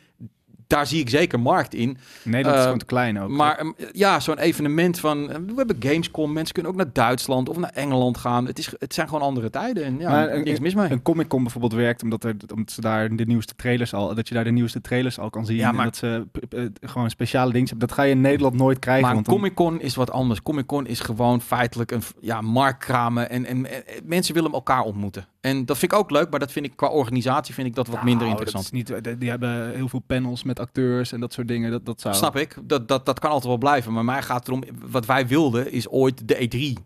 S2: Daar zie ik zeker markt in.
S1: Nederland is
S2: Eh,
S1: gewoon te klein ook.
S2: Maar ehm, ja, zo'n evenement van. eh, We hebben Gamescom. Mensen kunnen ook naar Duitsland of naar Engeland gaan. Het, is, het zijn gewoon andere tijden. En ja,
S1: Maar, eh,
S2: niks mis mee.
S1: Een Comic Con bijvoorbeeld werkt omdat, er, omdat ze daar de nieuwste trailers al, dat je daar de nieuwste trailers al kan zien.
S2: Ja,
S1: en
S2: maar-
S1: dat ze p- p- gewoon speciale dingen hebben. Dat ga je in Nederland nooit krijgen.
S2: Maar
S1: want dan-
S2: Comic Con is wat anders. Comic Con is gewoon feitelijk een ja, marktkramen. En, en, en mensen willen elkaar ontmoeten. En dat vind ik ook leuk, maar dat vind ik qua organisatie vind ik dat wat minder
S1: Nou,
S2: interessant.
S1: dat is niet, die- die hebben heel veel panels met acteurs en dat soort dingen. Dat, dat zou...
S2: Snap ik. Dat, dat, dat kan altijd wel blijven. Maar mij gaat het erom, wat wij wilden is ooit de E3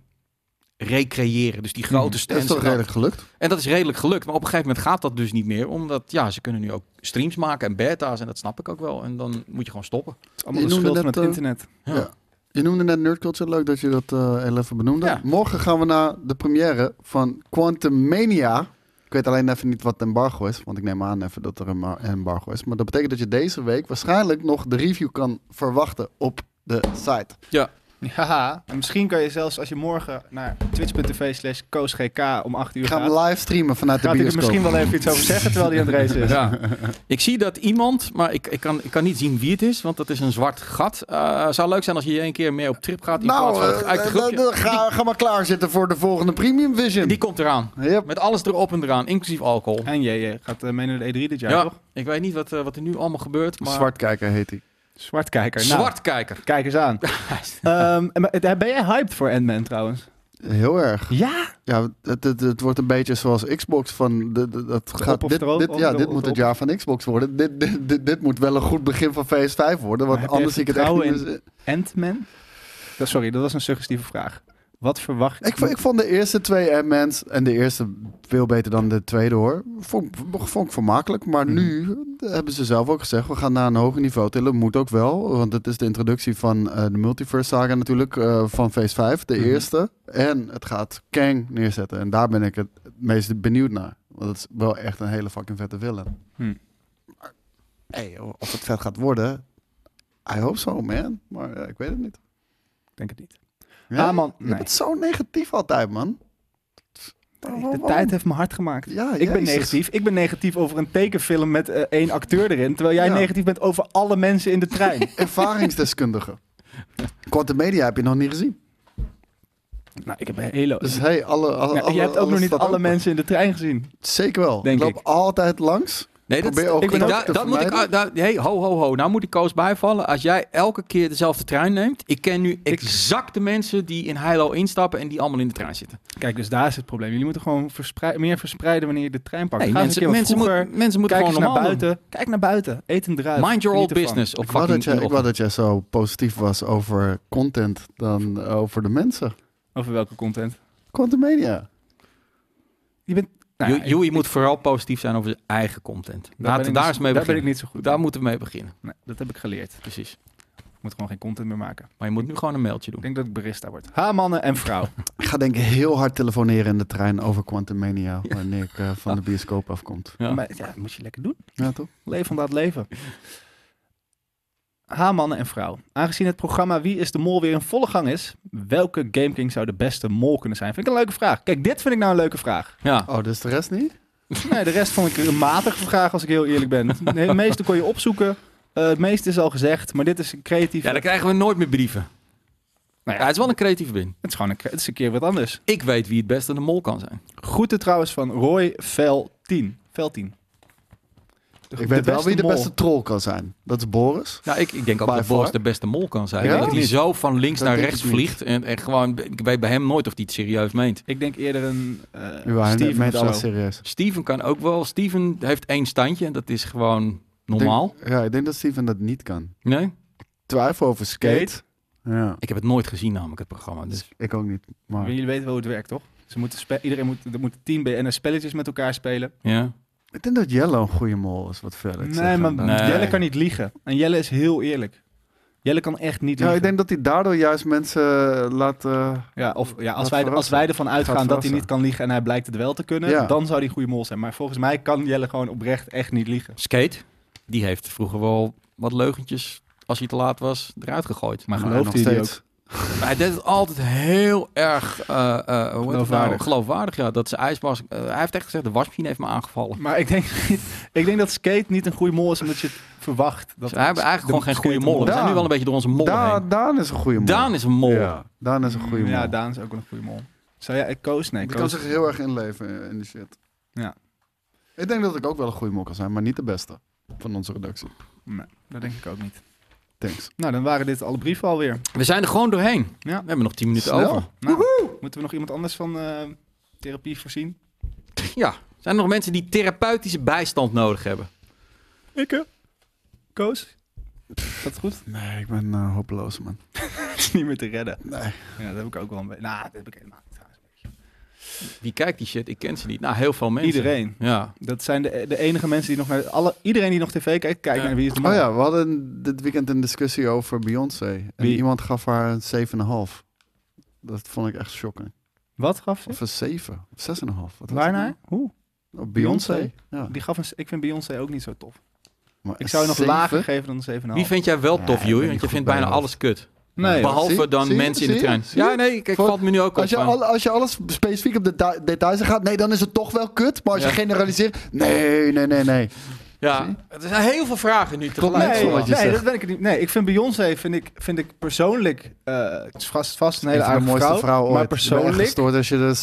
S2: recreëren. Dus die grote
S1: Mhm.
S3: Dat
S2: stands.
S3: is toch
S2: en dat-
S3: redelijk gelukt?
S2: En dat is redelijk gelukt. Maar op een gegeven moment gaat dat dus niet meer. Omdat ja, ze kunnen nu ook streams maken en beta's. En dat snap ik ook wel. En dan moet je gewoon stoppen.
S1: Het is allemaal
S3: Je
S1: de schuld
S3: noemde
S1: van het
S3: net, eh,
S1: internet.
S2: Ja.
S3: Ja. Je noemde net nerdculture. Leuk dat je dat eh, heel even benoemde.
S2: Ja.
S3: Morgen gaan we naar de première van Quantum Mania. Ik weet alleen even niet wat de embargo is. Want ik neem aan even dat er een ma- embargo is. Maar dat betekent dat je deze week waarschijnlijk nog de review kan verwachten op de site.
S1: Haha. En misschien kan je zelfs als je morgen naar twitch.tv slash koosgk om 8 uur
S3: Ik ga
S1: gaat...
S3: hem live streamen vanuit de
S1: Gaat hij er
S3: bioscoop.
S1: misschien wel even iets over zeggen terwijl hij aan het racen is?
S2: Ja. Ik zie dat iemand, maar ik, ik, kan, ik kan niet zien wie het is, want dat is een zwart gat. Eh zou leuk zijn als je hier een keer mee op trip gaat in plaats van
S3: Nou,
S2: het- uit
S3: eh,
S2: het groepje.
S3: eh, ga, ga maar klaarzitten voor de volgende Premium Vision.
S2: Die komt eraan.
S3: Yep.
S2: Met alles erop en eraan, inclusief alcohol.
S1: En JJ gaat eh, mee naar de E3 dit jaar,
S2: Ja,
S1: toch?
S2: ik weet niet wat, eh, wat er nu allemaal gebeurt, maar...
S3: Zwartkijker heet hij.
S1: Zwartkijker. Nou,
S2: Zwartkijker.
S1: kijk eens aan. Ehm, en maar- eh, ben jij hyped voor Ant-Man trouwens?
S3: Heel erg.
S1: Ja?
S3: Ja, het, het, het wordt een beetje zoals Xbox van... De, de- dat gaat,
S1: of
S3: dit,
S1: erop,
S3: dit,
S1: of
S3: ja,
S1: de-
S3: dit
S1: of
S3: moet het
S1: erop.
S3: jaar van Xbox worden. Dit, dit, dit, dit moet wel een goed begin van PS5 worden.
S1: Maar
S3: Want
S1: heb jij
S3: anders zie ik het echt niet
S1: vertrouwen
S3: meer-
S1: Ant-Man? Dat, sorry, dat was een suggestieve vraag. Wat verwacht
S3: Ik, vond- ik vond de eerste twee Ant-Mans... En de eerste veel beter dan de tweede hoor. Vond, vond ik vermakelijk. Maar
S1: Mhm.
S3: nu hebben ze zelf ook gezegd... We gaan naar een hoger niveau tillen. Moet ook wel. Want het is de introductie van eh, de Multiverse Saga natuurlijk. eh, van Phase 5. De
S1: Mhm.
S3: eerste. En het gaat Kang neerzetten. En daar ben ik het meest benieuwd naar. Want het is wel echt een hele fucking vette villain.
S1: Hmm.
S3: Hey, of het vet gaat worden. I hope so, man. Maar eh, ik weet het niet.
S1: Ik denk het niet.
S3: Ja,
S1: Ah, man.
S3: Je bent zo negatief altijd, man. Oh,
S1: Nee, de tijd heeft me hard gemaakt.
S3: Ja,
S1: Ik ben
S3: jezus.
S1: negatief. Ik ben negatief over een tekenfilm met eh, één acteur erin. Terwijl jij
S3: Ja.
S1: negatief bent over alle mensen in de trein.
S3: Ervaringsdeskundige. Quantum Media heb je nog niet gezien.
S1: nou, ik heb een hele...
S3: Dus hey, alle, alle,
S1: Nou,
S3: alle-
S1: je hebt ook
S3: alles
S1: nog niet
S3: staat
S1: alle
S3: open.
S1: mensen in de trein gezien.
S3: Zeker wel.
S1: Denk
S3: ik loop
S1: ik.
S3: altijd langs.
S2: Nee, dat,
S3: Probeer ook
S2: ik ben
S3: dat
S2: daar-
S3: te
S2: dat moet ik.
S3: vermijden.
S2: daar- hey, ho, ho, ho. Nou moet ik Koos bijvallen. Als jij elke keer dezelfde trein neemt. Ik ken nu exact de mensen die in Heilo instappen en die allemaal in de trein zitten.
S1: Kijk, dus daar is het probleem. Jullie moeten gewoon verspreid- meer verspreiden wanneer je de trein pakt.
S2: Nee,
S1: Ga eens een
S2: mensen,
S1: keer wat
S2: mensen,
S1: vroeger.
S2: moet- mensen moeten
S1: Kijk eens
S2: gewoon
S1: naar
S2: normaal doen.
S1: buiten. Kijk naar buiten. Eet een druif.
S2: Mind your
S1: Geniet
S2: old
S1: ervan.
S2: business. Op
S3: Ik wou, dat
S2: fucking
S3: jij, ik
S2: ochtend.
S3: wou dat jij zo positief was over content dan over de mensen.
S1: Over welke content?
S3: Quantum Media.
S1: Je bent... nou ja,
S2: Joe- Joey moet vooral positief zijn over zijn eigen content.
S1: ben
S2: Laten
S1: ik
S2: we
S1: niet
S2: daar
S1: zo-
S2: eens mee
S1: daar ben ik
S2: beginnen.
S1: niet zo goed.
S2: Daar
S1: in.
S2: moeten we mee beginnen.
S1: Nee, dat heb ik geleerd.
S2: Precies.
S1: Ik moet gewoon geen content meer maken.
S2: Maar je moet nu gewoon een mailtje
S1: Ik
S2: doen.
S1: denk dat ik barista word. Ha, mannen en vrouw.
S3: Ik ga denk ik heel hard telefoneren in de trein over Quantum Mania wanneer ik eh, van de bioscoop afkomt.
S2: Ja.
S1: Maar, ja, dat moet je lekker doen.
S3: Ja, toch?
S1: Leef van dat leven. Ha, mannen en vrouw. Aangezien het programma Wie is de Mol weer in volle gang is, welke Game King zou de beste mol kunnen zijn? Vind ik een leuke vraag. Kijk, dit vind ik nou een leuke vraag.
S2: Ja.
S3: Oh, dus de rest niet?
S1: Nee, de rest vond ik een matige vraag, als ik heel eerlijk ben. Nee, het meeste kon je opzoeken. Eh, het meeste is al gezegd, maar dit is een creatieve...
S2: ja, dan krijgen we nooit meer brieven.
S1: Nou
S2: Nou
S1: ja.
S2: ja, het is wel een creatieve win.
S1: Het is gewoon een, het is een keer wat anders.
S2: Ik weet wie het beste de mol kan zijn.
S1: Groeten trouwens van Roy Vel 10. Vel 10. De-
S3: Ik weet wel wie de
S1: mol.
S3: beste troll kan zijn. Dat is Boris.
S2: Nou, ik, ik denk ook
S3: By
S2: dat Boris
S3: far.
S2: de beste mol kan zijn.
S3: Ja?
S2: Ik denk dat hij
S1: Niet.
S2: zo van links
S3: Dat
S2: naar
S3: denk
S2: rechts
S3: ik niet.
S2: vliegt. En, en gewoon, ik weet bij hem nooit of hij het serieus meent.
S1: Ik denk eerder een eh
S3: Nu waren
S1: Steven
S3: met
S1: of zo.
S3: alles serieus.
S2: Steven kan ook wel. Steven heeft één standje. en Dat is gewoon normaal.
S3: Ik denk- ja, ik denk dat Steven dat niet kan.
S2: Nee?
S3: Twijfel over skate.
S1: Skate?
S3: Ja,
S2: Ik heb het nooit gezien namelijk, het programma. Dus
S3: ik ook niet.
S1: Maar
S3: Maar
S1: Jullie weten wel hoe het werkt, toch? Ze moeten spe- iedereen moet, er moeten tien BNS spelletjes met elkaar spelen.
S2: ja.
S3: ik denk dat Yellow een goede mol is, wat verder. te
S1: Nee,
S3: zeggen
S1: maar
S3: dan-
S2: Nee.
S1: Jelle kan niet liegen. En Jelle is heel eerlijk. Jelle kan echt niet
S3: Ja,
S1: liegen.
S3: ik denk dat hij daardoor juist mensen laat... eh,
S1: Ja, of, ja, als,
S3: Gaat
S1: wij, als
S3: verrassen.
S1: wij ervan uitgaan dat hij
S3: verrassen.
S1: niet kan liegen en hij blijkt het wel te kunnen,
S3: Ja.
S1: dan zou hij een goede mol zijn. Maar volgens mij kan Jelle gewoon oprecht echt niet liegen.
S2: Skate, die heeft vroeger wel wat leugentjes, als hij te laat was, eruit gegooid. Maar
S1: Maar
S3: nou,
S1: gelooft
S3: nog
S1: hij die
S3: steeds.
S2: hij deed het altijd heel erg eh, eh, hoe heet het nou?
S1: Geloofwaardig.
S2: geloofwaardig, ja. Dat zijn ijswas... eh, hij heeft echt gezegd, de wasmachine heeft me aangevallen.
S1: Maar ik denk, niet- ik denk dat skate niet een goede mol is, omdat je het verwacht. Dat
S2: Dus wij hebben
S1: de
S2: eigenlijk gewoon geen goede
S1: skate een
S2: mollen. We zijn nu
S3: Daan.
S2: wel een beetje door onze mollen
S3: Daan,
S2: heen.
S3: Daan is een goede mol.
S2: Daan is een mol.
S3: Ja, Daan is een goede mol.
S1: Ja, Daan is ook wel een goede mol. Zou jij, ik koos? Nee,
S3: Ik
S1: ik
S3: kan
S1: koos.
S3: zich heel erg inleven eh, in die shit.
S1: Ja.
S3: Ik denk dat ik ook wel een goede mol kan zijn, maar niet de beste van onze redactie.
S1: Nee, dat denk ik ook niet.
S3: Thanks.
S1: Nou, dan waren dit alle brieven alweer.
S2: We zijn er gewoon doorheen.
S1: Ja.
S2: We hebben nog 10 minuten
S3: Snel.
S2: over.
S1: Nou, moeten we nog iemand anders van eh, therapie voorzien?
S2: Ja. Zijn er nog mensen die therapeutische bijstand nodig hebben?
S1: Ik, Koos? Dat goed?
S3: Nee, ik ben eh, hopeloos, man.
S1: Het is niet meer te redden.
S3: Nee.
S1: Ja, dat heb ik ook wel een beetje. Nou, dat heb ik helemaal niet. trouwens.
S2: Wie kijkt die shit? Ik ken ze niet. Nou, heel veel mensen.
S1: Iedereen.
S2: Ja.
S3: Nou.
S1: Dat zijn de, de enige mensen die nog naar... Alle, iedereen die nog tv kijkt, kijkt
S2: Ja.
S1: naar Wie is de Mol.
S3: Oh ja, we hadden dit weekend een discussie over Beyoncé. En
S1: Wie?
S3: iemand gaf haar een 7,5. Dat vond ik echt shocking.
S1: Wat gaf ze?
S3: Of een 7, of 6,5. Wat was het
S1: Waarnaar?
S3: nou?
S1: Hoe?
S3: Oh, Beyoncé.
S1: Beyoncé.
S3: Ja.
S1: Die gaf een, ik vind Beyoncé ook niet zo tof.
S3: Maar
S1: Ik zou je nog
S3: een
S1: lager
S3: 7?
S1: geven dan een 7,5.
S2: Wie vind jij wel
S3: Ja,
S2: tof,
S3: ik ben
S2: Joey?
S3: niet
S2: Want je
S3: goed
S2: vindt
S3: bij
S2: bijna
S3: hoofd.
S2: alles kut.
S1: Nee,
S3: Behalve-
S1: hoor.
S2: Behalve
S3: Zie je?
S2: dan
S3: Zie je?
S2: mensen in de
S3: Zie je?
S2: trein.
S3: Zie je?
S2: Ja, nee, kijk,
S3: Voor-
S2: valt me nu ook op.
S3: Als je,
S2: van-
S3: al- als je alles specifiek op de da- details gaat, nee, dan is het toch wel kut. Maar als je
S2: Ja.
S3: generaliseert, nee, nee, nee, nee.
S2: Ja, er zijn heel veel vragen nu tegelijk.
S3: niet
S1: Nee,
S3: zo wat je
S1: nee,
S3: zegt.
S1: dat ben ik het niet. Nee, ik vind Beyoncé vind ik, vind ik persoonlijk eh, het is vast, vast een hele
S3: Een van de
S1: aardige
S3: mooiste
S1: vrouw,
S3: vrouw ooit.
S1: maar
S3: Ik ben echt
S1: persoonlijk.
S3: gestoord als je de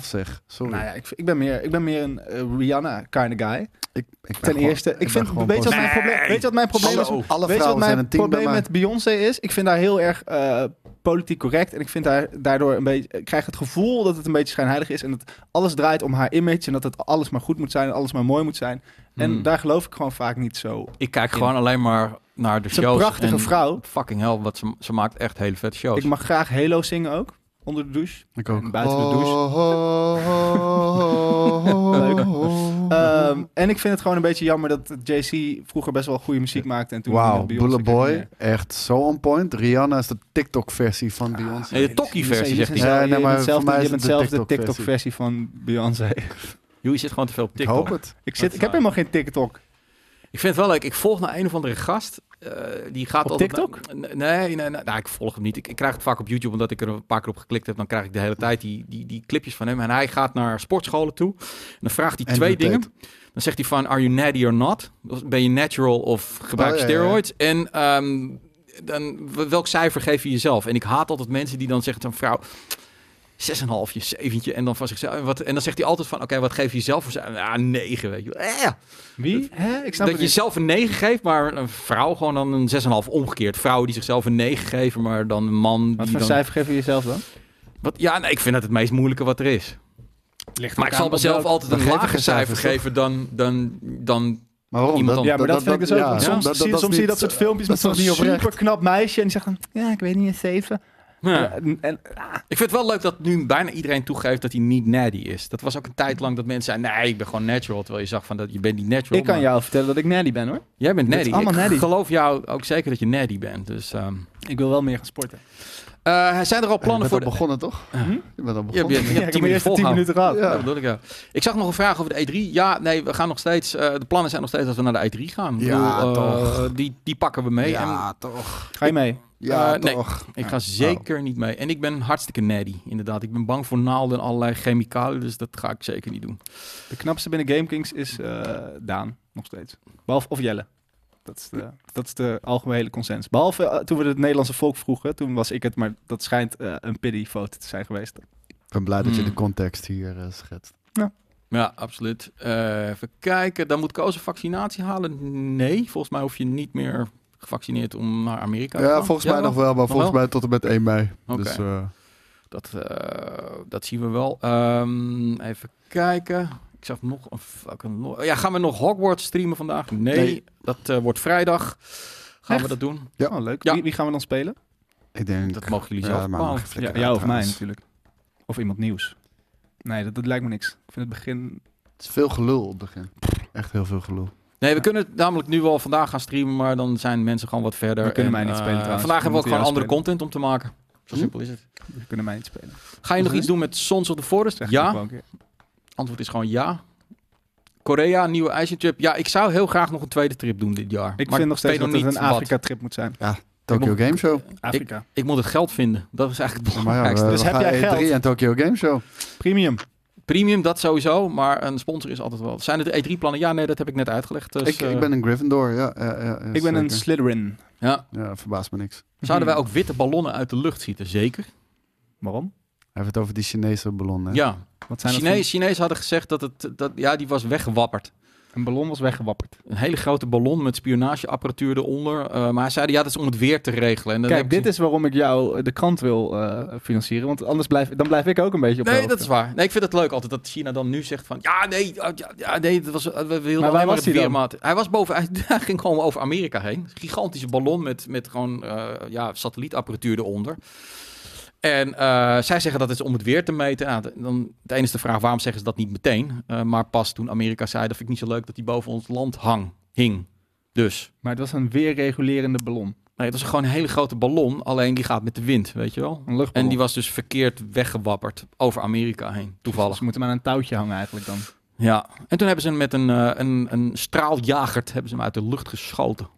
S3: 7,5 zegt. Sorry.
S1: Nou ja, ik, ik ben meer, ik ben meer een eh, Rihanna kind of guy.
S3: ik, ik ben
S1: Ten
S3: gewoon-
S1: eerste, ik,
S3: ben
S1: vind,
S3: gewoon
S1: weet je, wat
S3: boos.
S1: mijn probleem,
S2: Nee.
S1: weet je wat mijn probleem is?
S2: Hallo.
S3: Alle-
S1: weet
S3: alle
S1: je wat
S3: vrouwen zijn
S1: mijn
S3: een team bij
S1: probleem
S3: mij.
S1: met Beyoncé is? Ik vind haar heel erg eh, politiek correct en ik vind haar daardoor een beetje, ik krijg het gevoel dat het een beetje schijnheilig is en dat alles draait om haar image en dat het alles maar goed moet zijn en alles maar mooi moet zijn. En
S2: Hmm.
S1: daar geloof ik gewoon vaak niet zo.
S2: Ik kijk gewoon alleen maar naar de
S1: Ze is
S2: shows.
S1: een prachtige
S2: en
S1: vrouw.
S2: Fucking hell, wat ze, ze maakt echt hele vette shows.
S1: Ik mag graag Halo zingen ook. Onder de douche.
S3: Ik ook.
S1: En buiten de douche.
S3: Oh, oh, oh, oh,
S1: Leuk.
S3: oh.
S1: Ehm, en ik vind het gewoon een beetje jammer dat JC vroeger best wel goede muziek maakte. En toen
S3: Wauw,
S1: Beyoncé
S3: Bullet
S1: kreeg
S3: Boy,
S1: meer.
S3: echt zo on point. Rihanna is de TikTok-versie van Beyoncé.
S2: Ah, nee, de Tokkie-versie,
S1: Je
S2: zegt
S1: bent
S2: hij.
S1: zelf-
S3: Ja, nee,
S1: je
S3: maar
S1: bent zelf
S3: voor
S1: de-
S3: mij
S1: je
S3: is
S1: bent
S3: het de
S1: zelf de
S3: TikTok-versie.
S1: TikTok-versie van Beyoncé.
S2: Joey zit gewoon te veel op
S3: Ik
S2: TikTok.
S3: hoop het.
S1: Ik,
S2: Dat
S1: zit,
S2: is
S1: ik heb
S2: waar.
S1: helemaal geen TikTok.
S2: Ik vind het wel leuk. Ik volg naar een of andere gast. eh, die gaat
S1: Op
S2: altijd
S1: TikTok?
S2: naar- nee, nee, nee. Nou, ik volg hem niet. Ik, ik krijg het vaak op YouTube omdat ik er een paar keer op geklikt heb. Dan krijg ik de hele tijd die, die, die clipjes van hem. En hij gaat naar sportscholen toe. En dan vraagt hij
S3: En
S2: twee
S3: doet
S2: dingen.
S3: het.
S2: Dan zegt hij van, are you natty or not? Dus Ben je natural of gebruik je
S3: Oh, ja, ja, ja.
S2: steroids? En ehm, dan, w- welk cijfer geef je jezelf? En ik haat altijd mensen die dan zeggen, zo'n vrouw... zes en een halfje, zeventje en dan van zichzelf. En, wat, en dan zegt hij altijd van, oké, wat geef je zelf voor zijn? Ja, "Ah, negen, weet je. wel. Eh,
S1: Wie? Hè? Ik snap
S2: dat je zelf een 9 geeft, maar een vrouw gewoon dan een 6,5 omgekeerd. Vrouwen die zichzelf een 9 geven, maar dan een man
S1: Wat
S2: die
S1: voor
S2: dan...
S1: cijfer geef je jezelf dan?
S2: Wat, ja, nee, ik vind dat het meest moeilijke wat er is.
S1: Ligt
S2: Maar ik zal mezelf altijd
S3: dan
S2: een
S3: geef ik
S2: lager
S3: een
S2: cijfer
S3: cijfer, toch?
S2: geven dan, dan, dan...
S3: Maar waarom?
S2: Iemand
S1: Ja, maar dat, vind ik dus ook.
S3: ja,
S1: soms
S3: dat-
S1: zie,
S3: dat
S1: soms
S3: is
S1: zie je
S3: niet-
S1: dat soort filmpjes
S3: dat
S1: met
S3: is
S1: zo'n
S3: toch niet oprecht?
S1: super knap meisje en die zegt dan, ja, ik weet niet, een zeven.
S2: ja.
S1: En, en, ah,
S2: Ik vind het wel leuk dat nu bijna iedereen toegeeft dat hij niet natty is. Dat was ook een tijd lang dat mensen zeiden, nee, ik ben gewoon natural. Terwijl je zag van, dat je bent niet natural.
S1: ik kan
S2: maar
S1: jou vertellen dat ik nerdy ben hoor.
S2: Jij bent
S1: Het is
S2: natty.
S1: allemaal
S2: ik
S1: natty.
S2: geloof jou ook zeker dat je natty bent. Dus, ehm
S1: Ik wil wel meer gaan sporten.
S2: Eh, zijn er al
S3: Je
S2: plannen
S3: bent
S2: voor...
S3: al
S2: de-
S3: begonnen, toch?
S1: Hm?
S3: Je bent al
S2: Je hebt-
S3: begonnen.
S2: je hebt
S1: Ja, ik heb mijn
S2: tien
S1: eerste
S2: minuten
S1: tien
S2: volgehouden.
S1: minuten gehad.
S3: Ja.
S2: Ja. dat bedoel ik, ja. Ik zag nog een vraag over de E3. Ja, nee, we gaan nog steeds. eh, de plannen zijn nog steeds dat we naar de E3 gaan. Ik
S3: Ja,
S2: bedoel, eh,
S3: toch.
S2: Die, die pakken we mee. En
S3: Ja, toch.
S1: Ga je mee?
S3: Ja,
S2: Eh, nee.
S3: toch.
S2: ik ga zeker niet mee. En ik ben hartstikke nerdy, inderdaad. Ik ben bang voor naalden en allerlei chemicaliën. Dus dat ga ik zeker niet doen.
S1: De knapste binnen GameKings is eh, Daan, nog steeds. Behalve, of Jelle. Dat is de, dat is de algemene consens. Behalve eh, toen we het Nederlandse volk vroegen, toen was ik het, maar dat schijnt eh, een pity-foto te zijn geweest.
S3: Ik ben blij dat je
S2: Hmm.
S3: de context hier eh, schetst.
S2: Ja, absoluut. Eh, even kijken. Dan moet Koos een vaccinatie halen? Nee, volgens mij hoef je niet meer gevaccineerd om naar Amerika te gaan.
S3: Ja, volgens mij
S2: wel?
S3: nog wel, maar volgens
S2: wel?
S3: mij tot en met 1 mei.
S2: Oké.
S3: Dus, eh,
S2: Dat, eh, dat zien we wel. Ehm, even kijken. Ik zag nog een... fucking lo- Ja, gaan we nog Hogwarts streamen vandaag? Nee,
S3: Nee.
S2: dat eh, wordt vrijdag. Gaan we
S1: Echt?
S2: dat doen?
S3: Ja.
S1: Oh, leuk.
S2: Ja.
S1: Wie, wie gaan we dan spelen?
S3: ik denk...
S2: Dat mogen jullie
S3: ja,
S2: zelf
S3: maar
S2: bepalen.
S3: mag je flikker
S1: Ja, jou
S3: uit,
S1: of mij
S3: trouwens.
S1: natuurlijk. Of iemand nieuws. Nee, dat, dat lijkt me niks. Ik vind het begin...
S3: Het is veel gelul op het begin. Echt heel veel gelul.
S2: Nee, we kunnen het namelijk nu wel vandaag gaan streamen, maar dan zijn mensen gewoon wat verder.
S1: We kunnen
S2: En,
S1: mij niet
S2: eh,
S1: spelen trouwens.
S2: Vandaag
S1: We
S2: hebben we ook
S1: moeten
S2: gewoon
S1: jou
S2: andere content om te maken. Zo
S3: Hm?
S2: simpel is het.
S1: We kunnen mij niet spelen.
S2: Ga je nog
S1: is?
S2: iets doen met Sons of the Forest?
S1: Zeg ik nog
S2: Ja.
S1: wel een keer.
S2: Antwoord is gewoon ja. Korea, nieuwe IJsje-trip. Ja, ik zou heel graag nog een tweede trip doen dit jaar.
S1: Ik
S2: Maar
S1: vind nog steeds
S2: weet
S1: dat
S2: nog
S1: het een
S2: niet wat.
S1: Afrika-trip moet zijn.
S3: Tokyo
S2: moet-
S3: Game Show.
S1: Afrika.
S2: Ik moet het geld vinden. Dat is eigenlijk het
S3: Ja, Maar ja,
S2: belangrijkste.
S3: we,
S1: Dus
S3: we
S1: heb
S3: gaan
S1: jij
S3: E3
S1: geld?
S3: en Tokyo Game Show.
S1: Premium.
S2: Premium, dat sowieso. Maar een sponsor is altijd wel. Zijn het E3-plannen? Ja, nee, dat heb ik net uitgelegd. Dus,
S3: ik, ik
S2: eh,
S3: ben een Gryffindor, ja. ja, ja, ja,
S1: Ik ben een
S3: zeker.
S1: Slytherin.
S2: ja.
S3: Ja, verbaast me niks.
S2: Zouden wij ook witte ballonnen uit de lucht schieten? Zeker.
S1: Waarom?
S3: Hij heeft het over die Chinese ballon, hè?
S2: Ja.
S1: Wat zijn dat voor-
S2: Chinees, Chinees hadden gezegd dat het. Dat, ja, die was weggewapperd.
S1: Een ballon was weggewapperd.
S2: Een hele grote ballon met spionageapparatuur eronder. Eh, maar hij zei ja, dat is om het weer te regelen. En dan
S1: Kijk,
S2: heb ik
S1: dit is waarom ik jou eh, de krant wil eh, financieren. Want anders blijf, dan blijf ik ook een beetje op de
S2: Nee,
S1: hoogte.
S2: dat is waar. Nee, ik vind het leuk altijd dat China dan nu zegt van... Ja, nee, ja, ja, ja, nee dat was, we wilden
S1: waar
S2: alleen maar
S1: was
S2: het
S1: hij
S2: weer,
S1: dan?
S2: maat. Hij was boven... Hij, hij ging gewoon over Amerika heen. Gigantische ballon met, met gewoon eh, ja, satellietapparatuur eronder. En eh, zij zeggen dat het is om het weer te meten. Nou, dan, het enige is de vraag, waarom zeggen ze dat niet meteen? Eh, maar pas toen Amerika zei, dat vind ik niet zo leuk... dat die boven ons land hang, hing. Dus...
S1: Maar het was een weerregulerende ballon.
S2: Nee, het was gewoon een hele grote ballon. Alleen die gaat met de wind, weet je wel?
S1: Een luchtballon.
S2: En die was dus verkeerd weggewapperd over Amerika heen, toevallig.
S1: Dus Ze moeten maar aan een touwtje hangen eigenlijk dan.
S2: Ja, en toen hebben ze hem met een, eh, een, een straaljagerd hebben ze hem uit de lucht geschoten.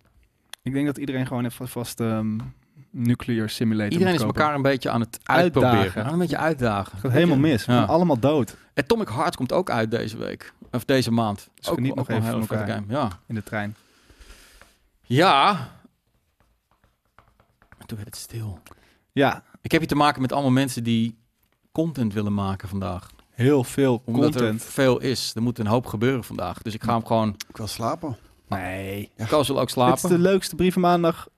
S1: Ik denk dat iedereen gewoon even vast ehm nuclear simulator
S2: Iedereen
S1: moet
S2: is
S1: kopen.
S2: elkaar een beetje aan het
S1: Uitdagen.
S2: uitproberen. Ja, Een beetje uitdagen.
S1: Het gaat helemaal mis. We
S2: Ja.
S1: gaan allemaal dood
S2: Atomic Heart komt ook uit deze week. Of deze maand.
S1: Dus geniet nog even
S2: wel een hele
S1: van
S2: vette
S1: elkaar.
S2: game, Ja.
S1: in de trein.
S2: Ja. En toen werd het stil.
S1: Ja,
S2: Ik heb hier te maken met allemaal mensen die content willen maken vandaag.
S1: heel veel
S2: Omdat
S1: content.
S2: er veel is. Er moet een hoop gebeuren vandaag. Dus ik ga hem gewoon...
S3: Ik wil slapen.
S1: Nee.
S2: Koos wil ook
S1: Het is
S2: slapen.
S1: de leukste brievenmaandag.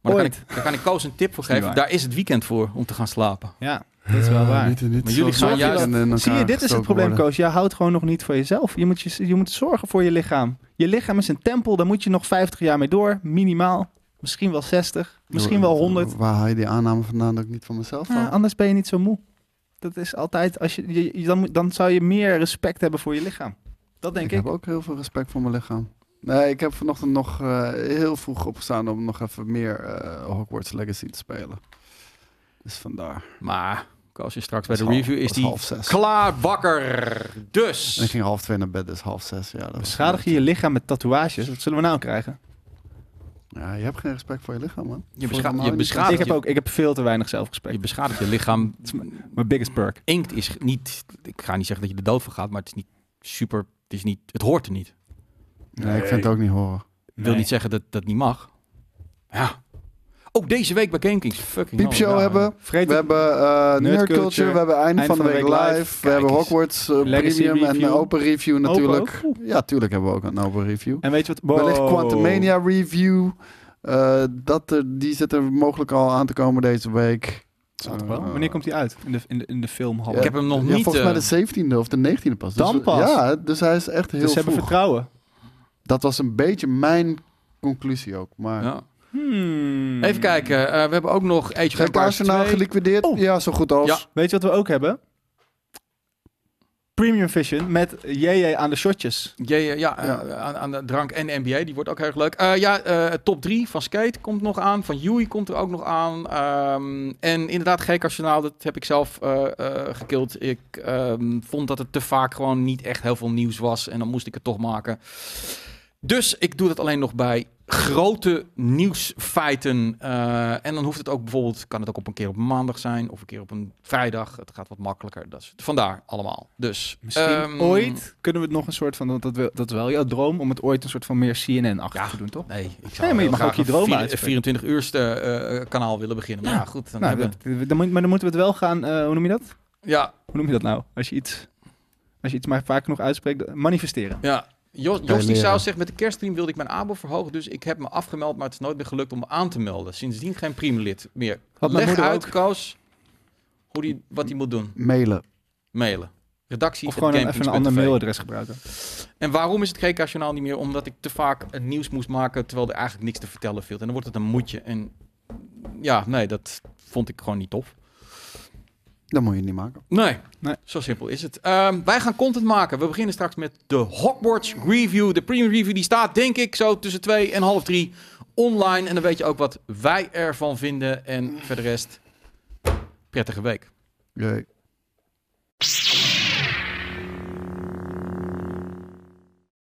S2: Maar dan kan,
S1: ooit.
S2: ik, dan kan ik Koos een tip voor
S1: Is niet
S2: geven.
S1: waar.
S2: Daar is het weekend voor om te gaan slapen.
S1: Ja, dat is wel waar.
S3: Niet, niet
S2: Maar jullie
S3: zo
S2: gaan
S3: zwaar
S2: juist-
S3: in eh, elkaar
S1: Zie je, dit is het
S3: gestoken
S1: probleem,
S3: worden.
S1: Koos. Jij houdt gewoon nog niet voor jezelf. Je moet, je, je moet zorgen voor je lichaam. Je lichaam is een tempel, daar moet je nog 50 jaar mee door. Minimaal. Misschien wel 60, misschien wel 100.
S3: Waar haal je die aanname vandaan dat ik niet van mezelf
S1: Ja,
S3: hou?
S1: anders ben je niet zo moe. Dat is altijd, als je, je- je- dan, moet- dan zou je meer respect hebben voor je lichaam. Dat denk
S3: ik
S1: ik.
S3: heb ook heel veel respect voor mijn lichaam. Nee, ik heb vanochtend nog eh, heel vroeg opgestaan om nog even meer eh, Hogwarts Legacy te spelen. Dus vandaar.
S2: Maar Koos is straks bij
S3: Het
S2: de
S3: half-
S2: review is
S3: het
S2: die
S3: half zes.
S2: klaar wakker.
S3: En ik
S2: Dus
S3: ging half twee naar bed, dus half zes. Ja, dat was
S1: Beschadig je je lichaam met tatoeages? Wat zullen we nou krijgen?
S3: Ja, je hebt geen respect voor je lichaam, man.
S2: je,
S3: Voor
S2: bescha
S3: normaal
S2: je,
S3: niet.
S2: beschadigt
S1: ik heb
S2: je,
S1: ook ik heb veel te weinig
S2: je
S1: zelfrespect.
S2: beschadigt je lichaam.
S1: Mijn biggest perk.
S2: Inkt is niet. Ik ga niet zeggen dat je de dood van gaat, maar het is niet super. Het is niet. Het hoort er niet.
S3: Nee, ik vind het ook niet horen.
S2: Wil niet zeggen dat dat niet mag. Ja. Ook deze week bij GameKings. Fucking
S3: Piepshow
S2: hell, ja.
S3: hebben.
S1: Vreet
S3: We hebben eh
S1: Nerd
S3: Nerd Culture,
S1: Culture.
S3: we hebben Einde van de Week Live, we
S2: Kijk
S3: hebben
S2: eens.
S3: Hogwarts eh,
S1: Legacy
S3: Premium en
S1: review.
S3: een open review
S1: Open
S3: natuurlijk. Ja, tuurlijk hebben we ook een open review.
S1: En weet je wat?
S3: Wellicht
S1: Wow.
S3: Quantumania review, eh, dat er, die zit er mogelijk al aan te komen deze week.
S1: Zal toch wel? Wanneer komt die uit? In de, in de, in de filmhal.
S3: Ja.
S2: Ik heb hem nog
S3: Ja,
S2: niet...
S3: volgens
S2: eh,
S3: mij de 17e of de 19e pas. Dus
S1: Dan
S3: we-
S1: pas.
S3: Ja, dus hij is echt heel
S1: dus ze hebben
S3: vroeg.
S1: vertrouwen.
S3: Dat was een beetje mijn conclusie ook. Maar
S2: ja.
S1: Hmm.
S2: Even kijken. eh, we hebben ook nog Age of
S3: Heeft
S2: Empires
S3: Arsenal
S2: 2.
S3: geliquideerd?
S1: Oh.
S3: Ja, zo goed als.
S2: Ja.
S1: Weet je wat we ook hebben? Premium Vision met JJ aan de shotjes.
S2: Ja, ja, ja, eh,
S3: Ja.
S2: Aan, aan de drank en NBA, die wordt ook heel erg leuk. Eh, ja, eh, top 3 van Skate komt nog aan. Van Yui komt er ook nog aan. Ehm, en inderdaad, GK Arsenaal, dat heb ik zelf eh eh, gekild. Ik ehm, vond dat het te vaak gewoon niet echt heel veel nieuws was. En dan moest ik het toch maken. Dus ik doe dat alleen nog bij grote nieuwsfeiten. Eh, en dan hoeft het ook bijvoorbeeld, kan het ook op een keer op een maandag zijn. Of een keer op een vrijdag. Het gaat wat makkelijker. Dat is, vandaar allemaal. Dus
S1: Misschien
S2: ehm,
S1: ooit kunnen we het nog een soort van... want Dat, wil- dat is wel jouw droom om het ooit een soort van meer CNN-achtig
S2: Ja.
S1: te doen, toch?
S2: Nee, ik
S1: Nee, maar je
S2: heel
S1: mag
S2: graag
S1: ook je
S2: een
S1: droom
S2: vier-
S1: uitspreken.
S2: 24 uurste eh, kanaal willen beginnen. Maar ja,
S1: Ja.
S2: goed. Dan
S1: Nou,
S2: hebben we-
S1: dat, dan moet, maar dan moeten we het wel gaan... eh, hoe noem je dat?
S2: ja,
S1: Hoe noem je dat nou? Als je iets, als je iets maar vaak nog uitspreekt, manifesteren.
S2: ja. Jos,
S3: Kan je
S2: Jos die zou
S3: leren.
S2: zeggen, met de kerststream wilde ik mijn abo verhogen, dus ik heb me afgemeld, maar het is nooit meer gelukt om me aan te melden. Sindsdien geen Prime-lid meer.
S1: Had mijn
S2: Leg
S1: moeder
S2: uit,
S1: ook.
S2: Koos, hoe die, wat hij moet doen.
S3: Mailen.
S2: Mailen. Redactie.
S1: Of gewoon een- even een ander
S2: mail.
S1: mailadres gebruiken.
S2: En waarom is het GK Journaal niet meer? Omdat ik te vaak het nieuws moest maken terwijl er eigenlijk niks te vertellen viel. En dan wordt het een moedje. En ja, nee, dat vond ik gewoon niet tof.
S3: Dat moet je niet maken.
S2: Nee.
S1: Nee.
S2: Zo simpel is het. Ehm, wij gaan content maken. We beginnen straks met de Hogwarts Review. De premium review die staat, denk ik, zo tussen twee en half drie online. En dan weet je ook wat wij ervan vinden. En voor de rest, prettige week.
S3: Jee.